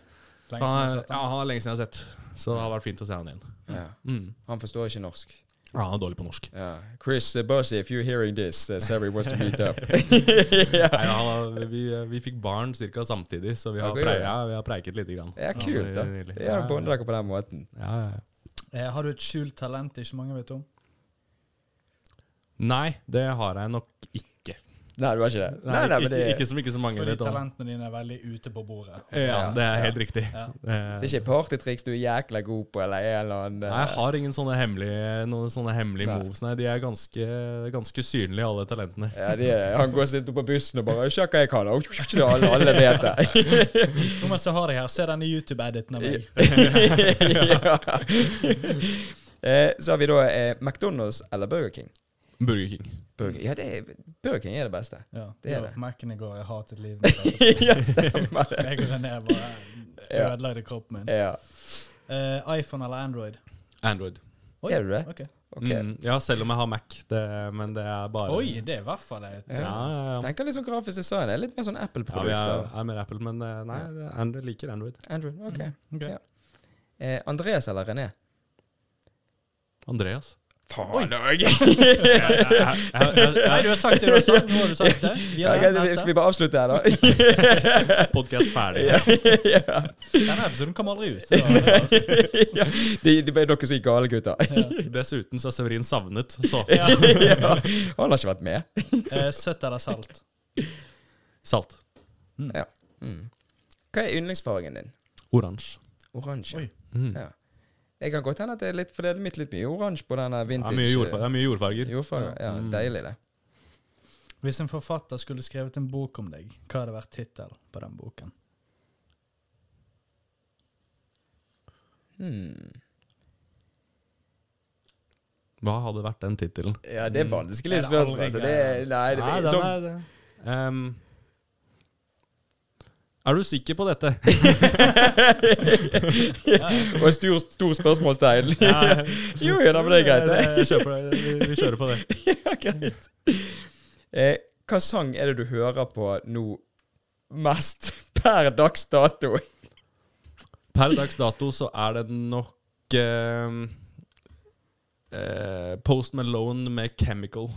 B: Lenge siden jeg
C: Han, er,
B: har sett
C: ja,
B: den.
C: han er lenge siden jeg har sett, så det har vært fint å se han igjen.
A: Ja.
C: Mm.
A: Han forstår ikke norsk.
C: Ja, han er dårlig på norsk.
A: Ja. Chris uh, Bossy, if you're hearing this, uh, Sari wants to meet up.
C: Nei, han, har- vi, vi fikk barn ca. samtidig, så vi har,
A: Ok, ja.
C: preia, vi har preiket lite grann.
A: Det er kult, da.
C: Ja,
A: Ja, Bånd dere på den måten.
C: Ja, ja, ja.
B: Eh, Har du et skjult talent ikke mange vet om?
C: Nei, det har jeg nok ikke.
A: Nei, du har ikke det?
C: Nei, ikke, ikke som ikke så mange
B: Fordi
C: vet om.
B: talentene dine er veldig ute på bordet.
C: Ja,
A: Ja,
C: det er
A: ja.
C: helt riktig.
B: Ja.
C: Eh,
A: Så det er ikke partytriks du er jækla god på, eller en eller annen uh,
C: Nei, jeg har ingen sånne hemmelige, noen sånne hemmelige
A: Nei.
C: moves. Nei, de er ganske, ganske synlige, alle talentene.
A: Ja, det er, han går sitt opp på bussen og bare 'Sjekk hva jeg kan', og alle, alle vet det.
B: Nå mens jeg har deg her, se denne YouTube-editen av meg.
A: ja. eh, så har vi da eh, McDonald's eller Burger King.
C: Burger King.
A: Burger, ja, det er, Burger King er det beste.
B: Ja,
A: Det er
B: jeg var
A: det.
B: på Mac-en i går, jeg hatet livet mitt.
A: ja, stemmer det.
B: Jeg og René bare
A: Ja.
B: ødelagte kroppen min.
A: Ja.
B: Eh, iPhone eller Android?
C: Android.
B: Oi,
A: Er du det?
B: ok.
A: Ok.
C: Mm, ja, selv om jeg har Mac, det, men det er bare
B: Oi, det er i hvert fall et eh,
C: Ja, ja, ja.
A: Tenker litt sånn grafisk design. Det er litt mer sånn
C: ja vi er,
A: Apple-produkter.
C: er med Apple, men eh, nei, Android liker Android.
A: Andrew,
C: Mm.
A: ok.
B: Ok.
A: Ja. Eh, Andreas eller René?
C: Andreas.
A: Faen òg!
B: Nei, du har sagt det du har sagt. Nå har du sagt det. Vi er neste.
A: Skal vi bare avslutte her, da?
C: Podkast ferdig.
B: Denne episoden kom aldri ut. Det var-
A: ja. Det det ble dere som gikk gale, gutter.
C: Dessuten så er Severin savnet, så
A: ja. Han har ikke vært med.
B: Eh, Søtt eller salt?
C: Salt.
A: Ja. Mm. Hva er yndlingsfargen din?
C: Oransje.
A: Oransje.
B: Oi.
A: Ja. Jeg kan godt hende at det er litt, for det er mitt litt mye oransje på denne
C: Det
A: vintage.
C: er mye Mm. jordfarger. Det er mye jordfarger.
A: Jordfarger, Ja, deilig, det.
B: Hvis en forfatter skulle skrevet en bok om deg, hva hadde vært tittel på den boken?
A: Hmm.
C: Hva hadde vært den tittelen?
A: Ja, det er vanskelig
C: Mm.
B: Er det
A: spørsmål.
B: aldri
A: Altså. Det er, nei, det,
C: Nei, den
A: som,
C: er det. Ehm, er du sikker på dette?
A: Og stor, stor spørsmålstegn. jo, ja, da, men det er greit, det.
C: Jeg kjøper det. Vi, vi kjører på det.
A: ja, greit. Eh, hva sang er det du hører på nå mest per dags dato?
C: Per dags dato så er det nok ehm, eh, Post Malone med Chemical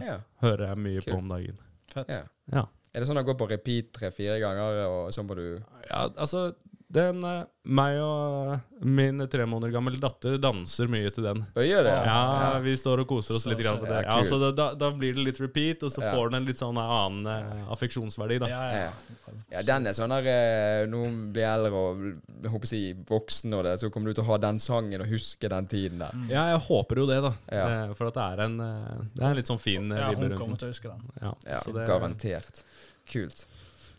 A: Ja,
C: hører jeg mye
A: Kult.
C: på om dagen.
B: Fett.
A: ja.
C: Ja.
A: Er det sånn at det går på repeat tre-fire ganger, og så må du
C: ja, altså den, eh, Meg og min tre måneder gamle datter danser mye til den.
A: Å, gjør det?
C: Ja, vi står og koser oss
B: Så
C: litt grann på
A: fett.
C: det.
A: Ja,
C: Ja,
A: kult.
C: så da, da, da blir det litt repeat, og så
A: Ja.
C: får den en litt sånn annen eh, affeksjonsverdi, da.
B: Ja, ja.
A: Ja, den er sånn der eh, Når hun blir eldre og jeg håper å si, voksen, og det, så kommer du til å ha den sangen og huske den tiden der.
C: Ja, jeg håper jo det, da.
A: Ja.
C: Eh, For at det er en eh, Det er en litt sånn fin eh,
B: ja,
C: vibbe
B: hun kommer
C: rundt den.
B: til å huske den.
C: Ja,
A: Ja,
C: så det-
A: Garantert. Kult.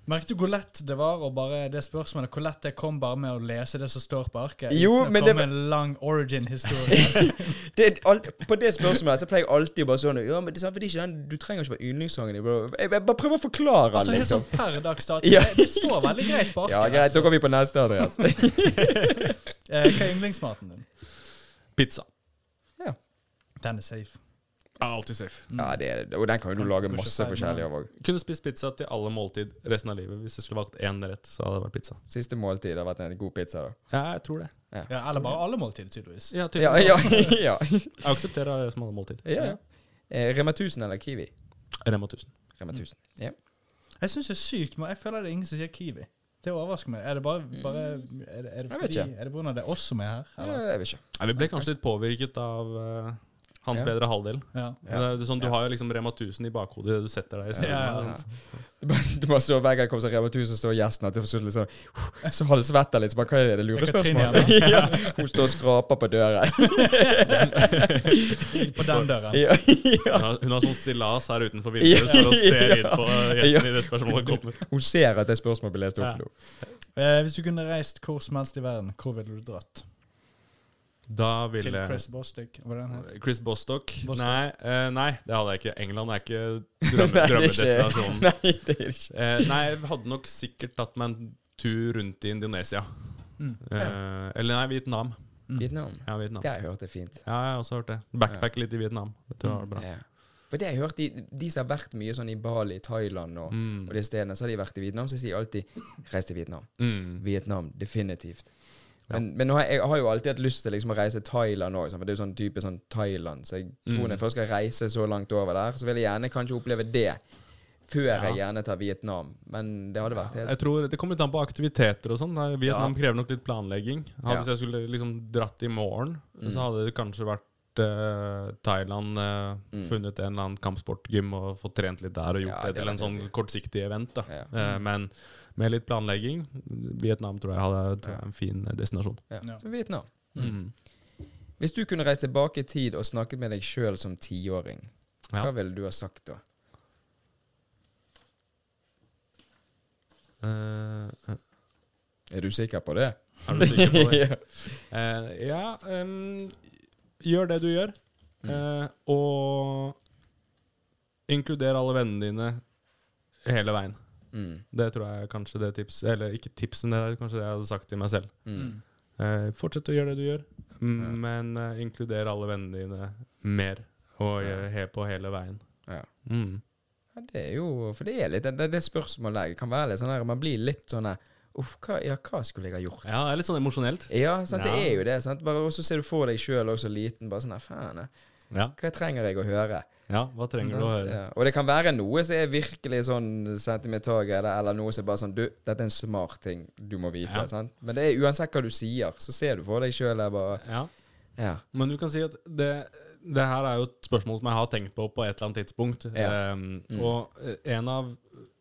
B: Merket du hvor lett det var å bare det spørsmålet, hvor lett det kom bare med å lese det som står på arket?
A: Jo,
B: uten å
A: men det
B: komme med en lang origin-historie.
A: Det, er alt, på det spørsmålet så pleier jeg alltid bare sånn Ja, men det er sant, for det er ikke den, Du trenger ikke være yndlingssangen din. bro. Jeg, jeg bare prøver å forklare,
B: altså, helt
A: liksom.
B: sånn altså. per dags dato.
A: Ja.
B: Det, det står veldig greit på arket.
A: Ja, greit, da går vi på neste adress.
B: Eh, hva er yndlingsmaten din?
C: Pizza.
A: ja.
B: Den er safe. Mm.
C: Er alltid safe.
A: ja, det er det. Og den kan jo du lage
B: Kanskje
A: masse
B: feil,
A: forskjellig av òg.
C: Kunne spist pizza til alle måltid resten av livet. Hvis jeg skulle valgt én rett, så hadde det vært pizza.
A: Siste måltid har vært en god pizza, da.
C: Ja, jeg tror det.
B: Ja, eller bare alle måltider, tydeligvis.
C: Ja,
A: Ja,
C: tydeligvis.
A: ja. ja,
C: Jeg aksepterer det som alle måltid.
A: ja, ja. Eh, Rema 1000 eller Kiwi?
C: Rema 1000.
A: Rema 1000. Ja.
B: Jeg syns det er sykt, men jeg føler det er ingen som sier kiwi. Det overrasker meg. Er det bare, bare Er det, er det
A: Jeg vet
B: fordi Er det på grunn av det er oss som er her?
A: ja
B: Eller?
A: jeg vet ikke.
C: Nei, vi ble kanskje litt påvirket av eh, hans
A: Ja.
C: bedre halvdel.
B: Ja.
A: Ja.
C: Det er sånn, du har jo liksom Rema 1000 i bakhodet idet du setter deg i stolen.
B: Ja, ja,
A: ja. Du bare, du bare står Hver gang det kommer sånn Rema 1000, står gjesten her til å sitte litt sånn Så har det svetta litt, så bare Hva er det
B: Er
A: lurespørsmålet?
B: Katrine
A: ja, hun står og skraper på døren.
B: På den døren.
A: ja, ja.
C: Hun, har, hun har sånn stillas her utenfor vinduet
A: Ja.
C: for å se inn
A: Ja.
C: på gjesten i det spørsmålet kommer.
A: Hun ser at det spørsmålet blir lest
C: Ja.
A: opp nå.
B: Eh, hvis du kunne reist hvor som helst i verden, hvor ville du dratt?
C: Da
B: Til
C: ville
B: Chris Bostick? Hva er det han heter?
C: Chris Bostock?
B: Bostock.
C: Nei, eh, nei, det hadde jeg ikke. England er ikke
A: Nei, det
C: drømme,
A: er
C: drømmedestinasjonen.
A: Nei, det er det ikke.
C: Eh, nei, jeg hadde nok sikkert tatt meg en tur rundt i Indonesia.
B: Mm.
C: Eh, eller nei, Vietnam.
A: Vietnam.
C: Ja, Vietnam.
A: Det har jeg hørt er fint.
C: Ja, jeg har også hørt det. Backpack litt i Vietnam. Det tror jeg var bra.
A: Ja. For det har jeg hørt, de, de som har vært mye sånn i Bali, Thailand og, og de stedene, så har de vært i Vietnam, så jeg sier alltid 'reis til Vietnam'.
C: Mm.
A: Vietnam, definitivt. Men, men nå har jeg, jeg har jo alltid hatt lyst til liksom å reise til Thailand òg, for det er jo sånn type sånn Thailand. Så jeg tror når jeg først skal reise så langt over der, så vil jeg gjerne kanskje oppleve det. Før jeg gjerne tar Vietnam. Men det hadde vært helt
C: Jeg tror Det kommer litt an på aktiviteter og sånn. Da, Vietnam krever nok litt planlegging. Hadde,
A: Ja. Mm.
C: Hvis jeg skulle liksom dratt i morgen, så hadde det kanskje vært eh, Thailand, eh,
A: Mm.
C: funnet en eller annen kampsportgym og fått trent litt der og gjort
A: Ja, Mm.
C: det
A: det
C: til
A: er
C: en sånn kortsiktig event. da.
A: Ja.
C: Eh, men med litt planlegging Vietnam tror jeg hadde tror jeg, er en fin destinasjon.
A: ja. Mm.
B: Ja.
A: Så Vietnam. Hvis du kunne reist tilbake i tid og snakket med deg sjøl som tiåring,
C: Ja.
A: hva ville du ha sagt da?
C: Eh,
A: Er du sikker på det?
C: er du sikker på det? Eh, ja ehm, Gjør det du gjør, eh, og inkluder alle vennene dine hele veien.
A: Mm.
C: Det tror jeg kanskje det tips Eller ikke tips, men det er kanskje det jeg hadde sagt til meg selv.
A: Mm.
C: Eh, fortsett å gjøre det du gjør, mm, men eh, inkluder alle vennene dine mer. Og gjør he på hele veien.
A: Ja.
C: Mm.
A: Ja, det er jo For det er litt Det, det spørsmålet kan være litt sånn her Man blir litt sånn her Uff, hva, ja, hva skulle jeg ha gjort?
C: Ja, det er litt sånn emosjonelt.
A: Ja, sant, det
C: Ja.
A: er jo det. sant? Bare Og så ser du for deg sjøl også liten. Bare sånn her, faen. jeg-
C: Ja,
A: Hva trenger jeg å høre?
C: ja, hva trenger du å høre?
A: Ja. Og det kan være noe som er virkelig sånn sentimental greie, eller- eller noe som bare sånn Du, dette er en smart ting du må vite.
C: Ja.
A: sant? Men det er uansett hva du sier, så ser du for deg sjøl bare
C: Ja.
A: Ja.
C: Men du kan si at det, det her er jo et spørsmål som jeg har tenkt på på et eller annet tidspunkt.
A: Ja. Mm.
C: Ehm, Og eh, en av,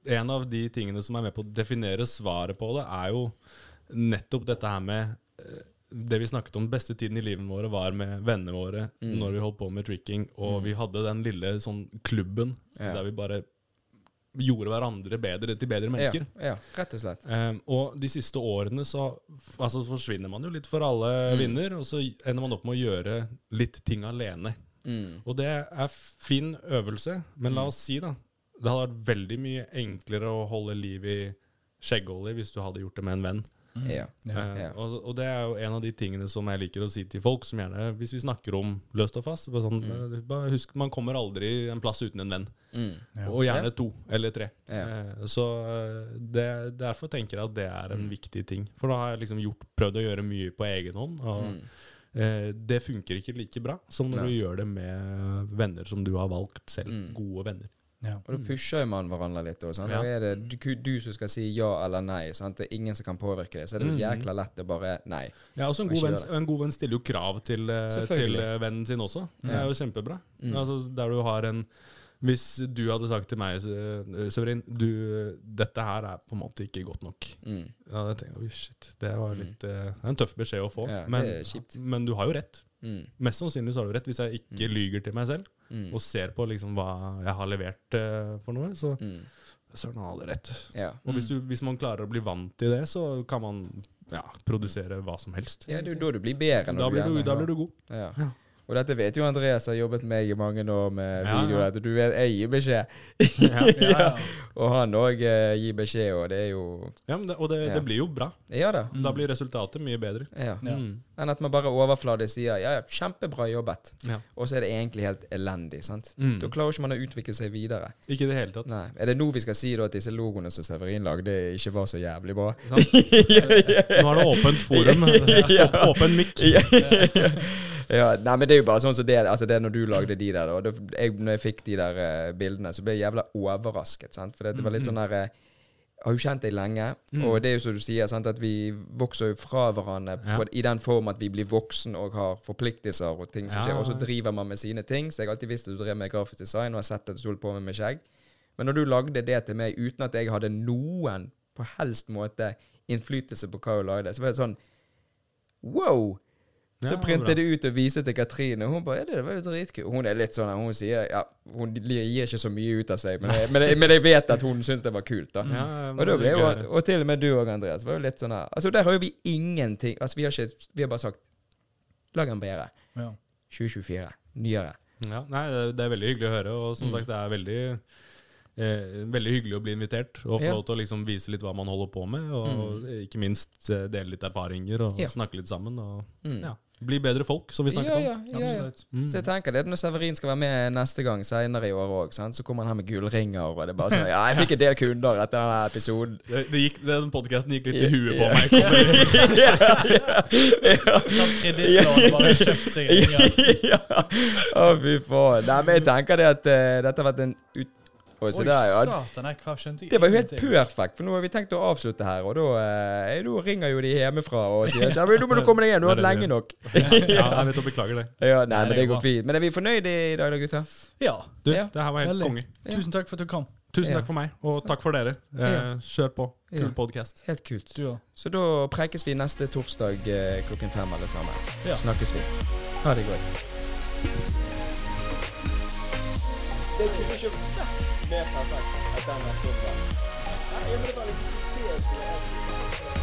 C: en av de tingene som er med på å definere svaret på det, er jo nettopp dette her med eh, det vi snakket om beste tiden i livet våre var med vennene våre
A: Mm.
C: når vi holdt på med tricking, og vi hadde den lille sånn klubben
A: Ja.
C: der vi bare gjorde hverandre bedre til bedre mennesker.
A: Ja, ja, rett og slett.
C: Ehm, og de siste årene så f- altså, forsvinner man jo litt for alle
A: Mm.
C: vinner, og så ender man opp med å gjøre litt ting alene.
A: Mm.
C: Og det er fin øvelse, men la oss si da, det hadde vært veldig mye enklere å holde liv i skjeggolje hvis du hadde gjort det med en venn.
B: Mm.
A: Ja.
C: Eh,
A: ja.
C: og, og det er jo en av de tingene som jeg liker å si til folk, som gjerne, hvis vi snakker om løst og fast, så bare sånn, eh, bare husk, man kommer aldri en plass uten en venn.
A: Mm.
C: Og
A: Ja.
C: gjerne to eller tre.
A: Ja.
C: Eh, Så eh, det, derfor tenker jeg at det er
A: Mm.
C: en viktig ting. For da har jeg liksom gjort, prøvd å gjøre mye på egen hånd, og eh, det funker ikke like bra som når
A: Mm. Nei.
C: du gjør det med venner som du har valgt selv.
A: Mm.
C: Gode venner.
B: Ja.
A: Og da pusher jo man hverandre litt. Også, sant?
C: Ja.
A: Da er det du, du som skal si ja eller nei. Sant? Det er ingen som kan påvirke det. Så er
C: Mm.
A: det jo jækla lett å bare Nei.
C: Ja, også en,
A: Kan
C: god
A: ikke
C: venn,
A: gjøre
C: en god venn stiller jo krav til, eh,
A: Selvfølgelig.
C: til eh, vennen sin også. Det
A: Ja.
C: er jo kjempebra.
A: Mm.
C: Altså, der du har en Hvis du hadde sagt til meg, eh, Severin du, Dette her er på en måte ikke godt nok.
A: Mm.
C: Ja, jeg tenker, Oi, shit, det var litt eh, Det er en tøff beskjed å få.
A: Ja, det
C: men,
A: er kjipt.
C: men du har jo rett.
A: Mm.
C: Mest sannsynlig så har du rett. Hvis jeg ikke lyger til meg selv
A: Mm.
C: og ser på liksom hva jeg har levert eh, for noe, så
A: Mm.
C: søren han hadde rett.
A: Ja.
C: Og hvis, du, hvis man klarer å bli vant til det, så kan man ja, produsere hva som helst.
A: ja, det er jo da du blir bedre. når
C: da, blir du,
A: gjerne
C: da
A: har-
C: blir du god.
A: Ja.
C: Ja.
A: Og dette vet jo Andreas, som har jobbet med meg i mange år med
C: Ja,
A: video.
C: ja.
A: At du vet, jeg gir beskjed,
C: Ja,
B: Ja, ja.
A: og han òg eh, gir beskjed, og det er jo
C: ja, men det, Og det,
A: Ja.
C: det blir jo bra.
A: Ja da.
C: Da blir resultatet mye bedre.
A: Ja.
B: Ja.
C: Mm.
A: Enn at man bare overfladisk sier ja, ja, kjempebra jobbet,
C: Ja.
A: og så er det egentlig helt elendig. sant?
C: Mm.
A: Da klarer jo ikke man å utvikle seg videre.
C: Ikke i det hele tatt.
A: Nei. Er det nå vi skal si da at disse logoene som Severin lagde, ikke var så jævlig bra?
C: Nå er det åpent forum. Åpen mikk.
A: Ja, nei, men det er jo bare sånn som det er. Altså, det er når du lagde de der, da. og det- Jeg, når jeg fikk de der eh, bildene, så ble jeg jævla overrasket. Sant? For det var
C: Mm-hmm.
A: litt sånn der eh, Jeg har jo kjent deg lenge,
C: Mm.
A: og det er jo som du sier, sant, at vi vokser jo fra hverandre
C: Ja.
A: på, i den form at vi blir voksen og har forpliktelser og ting som
C: Ja.
A: skjer. Og så driver man med sine ting. Så jeg har alltid visst at du drev med grafisk design og har sett at du holdt på med med skjegg. Men når du lagde det til meg uten at jeg hadde noen på helst måte innflytelse på hva hun lagde, så var det sånn Wow! Så
C: Ja,
A: printet
C: bra.
A: jeg det ut og viste til Katrine, og hun bare ja, 'Det var jo dritkult'. Hun er litt sånn Hun sier ja, hun gir ikke så mye ut av seg, men jeg, men jeg, men jeg vet at hun syns det var kult, da.
C: Ja, men
A: og, da
C: det
A: ble jo,
C: er gøyere.
A: og til og med du og Andreas var jo litt sånn her Altså, der har jo vi ingenting Altså, vi har ikke Vi har bare sagt Lag en bedre.
B: Ja.
A: 2024. Nyere.
C: Ja, nei, det, det er veldig hyggelig å høre, og
A: Mm.
C: som sagt, det er veldig Eh, veldig hyggelig å bli invitert og få
A: Ja. Mm.
C: lov til å liksom vise litt hva man holder på med. Og ikke minst eh, dele litt erfaringer og
A: Ja.
C: snakke litt sammen. Og ja, bli bedre folk, som vi snakket
A: Mm. ja,
C: Mm.
A: ja, ja, ja.
B: Absolutt.
A: Så jeg tenker det er når Severin skal være med neste gang senere i år òg, så kommer han her med gullringer, og det er bare sånn Ja, jeg fikk en del kunder etter denne episoden.
C: om. Det, det gikk, den podkasten gikk litt i
A: Ja.
C: huet
A: Ja.
C: på meg. Kommer-
B: Tatt kredittlån, bare kjøpt seg ringer.
A: ja. Å, fy faen. Nei, men jeg tenker det at eh, dette har vært en ut... Oi, se
B: Oi,
A: der, ja.
B: satan, jeg hva skjønte jeg
A: Det var jo helt
B: ingenting.
A: perfekt, for nå har vi tenkt å avslutte her, og da eh, da ringer jo de hjemmefra og sier «Ja, men nå må du komme deg igjen, du har
C: Det
A: vært
C: er det
A: lenge nok.
C: ja, jeg vet og beklager det.
A: Ja, nei,
B: Nei,
A: men
B: det
A: det
B: går
A: går fint. Men er vi fornøyde i dag, da, gutta?
B: Ja,
C: Du,
A: Ja.
C: det her var helt
B: veldig.
C: konge.
B: Tusen takk for at du kom.
C: Tusen
A: Ja.
C: takk for meg, og takk for dere. Eh,
A: Ja.
C: kjør på. Kul
A: Ja.
C: podcast.
A: Helt kult.
B: Du òg.
A: Så da prekes vi neste torsdag eh, klokken fem, alle sammen.
B: Ja.
A: Snakkes vi. Ha det godt. Det kunne ikke vært mer perfekt at den var toppen. Nei, men det var liksom det jeg skulle ha.